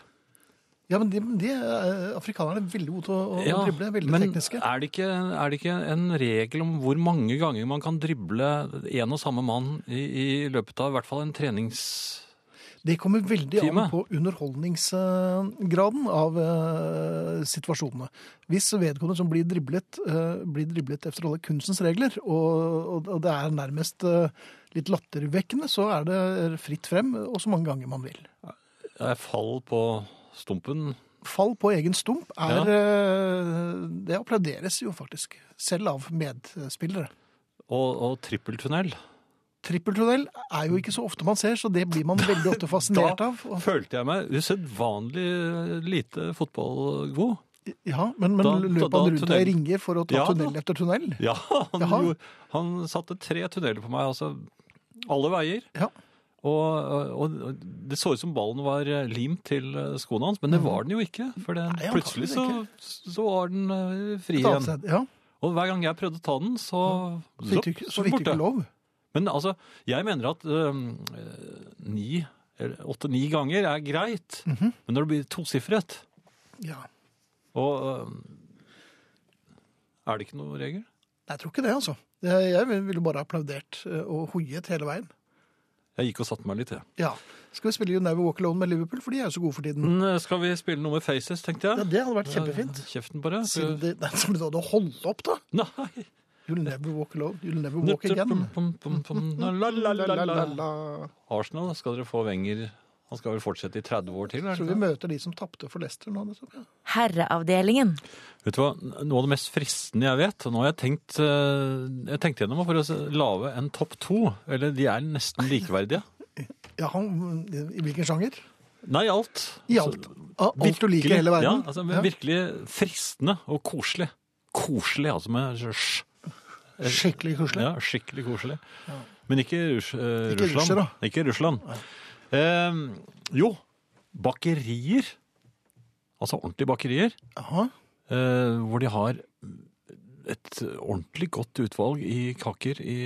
B: Ja, men de, de eh, afrikanerne er veldig gode til å, å
A: Ja,
B: drible. Veldig
A: men
B: tekniske.
A: Er det, ikke, er det ikke en regel om hvor mange ganger man kan drible en og samme mann i, i løpet av i hvert fall en trenings...
B: Det kommer veldig
A: Time.
B: an på underholdningsgraden av eh, situasjonene. Hvis vedkommende som blir driblet, eh, blir driblet efter alle kunstens regler, og, og det er nærmest eh, litt lattervekkende, så er det fritt frem, og så mange ganger man vil.
A: Jeg eh, fall på stumpen.
B: Fall på egen stump er
A: Ja.
B: eh, Det applauderes jo faktisk, selv av medspillere.
A: Og, og trippeltunnel.
B: Trippeltunnel er jo ikke så ofte man ser, så det blir man veldig
A: [laughs]
B: ofte fascinert
A: Da
B: av. Og-
A: følte jeg meg usedvanlig lite fotballgod.
B: Ja, men, men
A: Da- da-
B: løp
A: da
B: han rundt deg i
A: tunnel.
B: ringer for å ta
A: Ja, da.
B: tunnel etter tunnel?
A: Ja, han,
B: Jaha.
A: gjorde, han satte tre tunneler på meg, altså alle veier.
B: Ja.
A: Og, og, og det så ut som ballen var limt til skoene hans, men det var den jo ikke. For den,
B: Nei,
A: plutselig så,
B: antageligvis
A: så var den eh, fri
B: Et annet
A: igjen.
B: sted, ja.
A: Og hver gang jeg prøvde å ta den, så
B: Så fikk du ikke, så fikk du ikke lov.
A: Men altså, jeg mener at eh, ni, eller åtte-ni ganger er greit.
B: Mhm.
A: Men når det blir tosifret
B: Ja.
A: Og eh, er det ikke noen regel?
B: Nei, Jeg tror ikke det, altså. Jeg jeg ville bare applaudert eh, og hoiet hele veien.
A: Jeg gikk og satte meg litt, jeg.
B: Ja. Skal vi spille You Never Walk Alone med Liverpool, for de er jo så gode for tiden.
A: Men, eh, Skal vi spille noe med Faces, tenkte jeg.
B: Ja, Det hadde vært kjempefint.
A: Ja, Kjeften på det.
B: Siden det, nei, så ble det å holde opp, da.
A: Nei!
B: You'll never walk alone, you'll never walk again.
A: Pum, pum,
B: [laughs]
A: pum, la, la, la, la, la.
B: La-la-la-la.
A: Arsenal, skal dere få Wenger Han skal vel fortsette i 30 år til? Er
B: Tror vi
A: det ikke?
B: møter de som tapte for Leicester nå. nettopp, ja.
C: Herreavdelingen.
A: Vet du hva, Noe av det mest fristende jeg vet og Nå har jeg tenkt, eh, jeg tenkte gjennom for å se- lage en topp to. Eller de er nesten likeverdige.
B: Ja, han, I hvilken sjanger?
A: Nei, alt.
B: I alt. Av alt du liker i hele verden.
A: Altså, Ja, altså, men Virkelig fristende og koselig. Koselig, altså med sj.
B: Skikkelig koselig.
A: Ja, skikkelig koselig. Men ikke, Rus eh,
B: Ikke
A: Russland.
B: russer, da.
A: Ikke Russland. Eh, jo, bakerier. Altså ordentlige bakerier.
B: Jaha.
A: eh, hvor de har et ordentlig godt utvalg i kaker i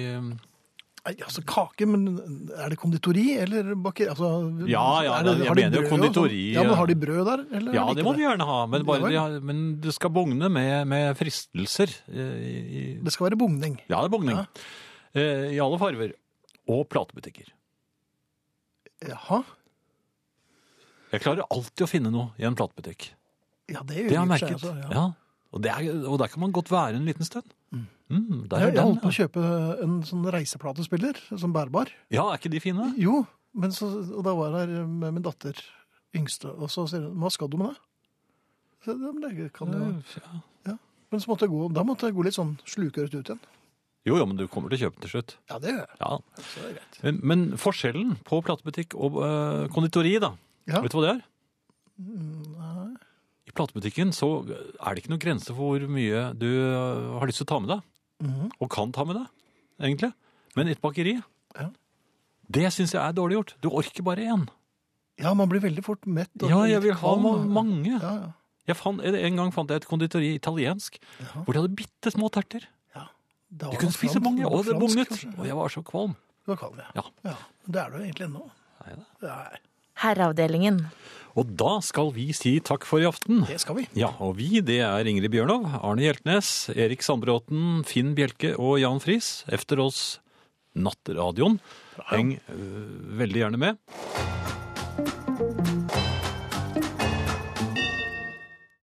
B: Nei, altså kake, men er det konditori eller baker? Altså,
A: Ja, ja,
B: er
A: jeg
B: har de
A: mener jo
B: brød og sånn?
A: konditori,
B: Ja, men
A: ja.
B: har de brød der? Eller
A: Ja,
B: er
A: det
B: ikke
A: må du gjerne ha, men, bare,
B: Ja vel.
A: de har, men du skal bugne med, med fristelser. eh, I, i,
B: Det skal være bugning.
A: ja, det er bugning. Eh, I alle farver. Og platebutikker.
B: Jaha.
A: Jeg klarer alltid å finne noe i en platebutikk.
B: Ja, det gjør
A: Det har jeg
B: i og for seg,
A: merket.
B: altså, ja.
A: ja. Og, det er, og der kan man godt være en liten stund. Mm, der
B: Jeg,
A: er
B: jeg holdt på
A: den.
B: å kjøpe en sånn reiseplatespiller, sånn bærbar.
A: Ja, er ikke de fine?
B: Jo, men så, og da var jeg her med min datter, yngste, og så sier hun, hva skal du med det? Så, ja, men det kan jo...
A: Ja.
B: Men så måtte jeg gå, da måtte jeg gå litt sånn slukøret ut igjen.
A: Jo, jo, men du kommer til å kjøpe den til slutt.
B: Ja, det gjør jeg.
A: Ja.
B: Så det er greit.
A: Men, men forskjellen på platebutikk og eh, konditori, da.
B: Ja. Mm,
A: Vet du hva det er? I platebutikken så er det ikke noen grense for hvor mye du eh, har lyst til å ta med deg.
B: Mhm.
A: Og kan ta med deg, egentlig. Men et bakeri,
B: Ja.
A: det syns jeg er dårlig gjort. Du orker bare én.
B: Ja, man blir veldig fort mett. og
A: Ja, jeg
B: litt
A: vil ha
B: kvalm.
A: ma- mange.
B: Ja, ja.
A: Jeg fant, en gang fant jeg et konditori italiensk hvor de hadde bitte små terter.
B: Da
A: Du
B: var
A: kunne
B: det
A: spise
B: fransk-
A: mange, og det
B: fransk,
A: bugnet.
B: kanskje.
A: Og jeg var så kvalm.
B: Det var kaldt, ja.
A: Ja.
B: ja. men Det er det jo egentlig ennå.
A: Nei da.
B: Nei,
C: Herreavdelingen.
A: Og da skal vi si takk for i aften.
B: det skal vi.
A: Ja, og vi, det er Ingrid Bjørnov, Arne Hjeltnes, Erik Sandbråten, Finn Bjelke og Jan Friis. Efter oss Nattradioen. Heng øh, veldig gjerne med.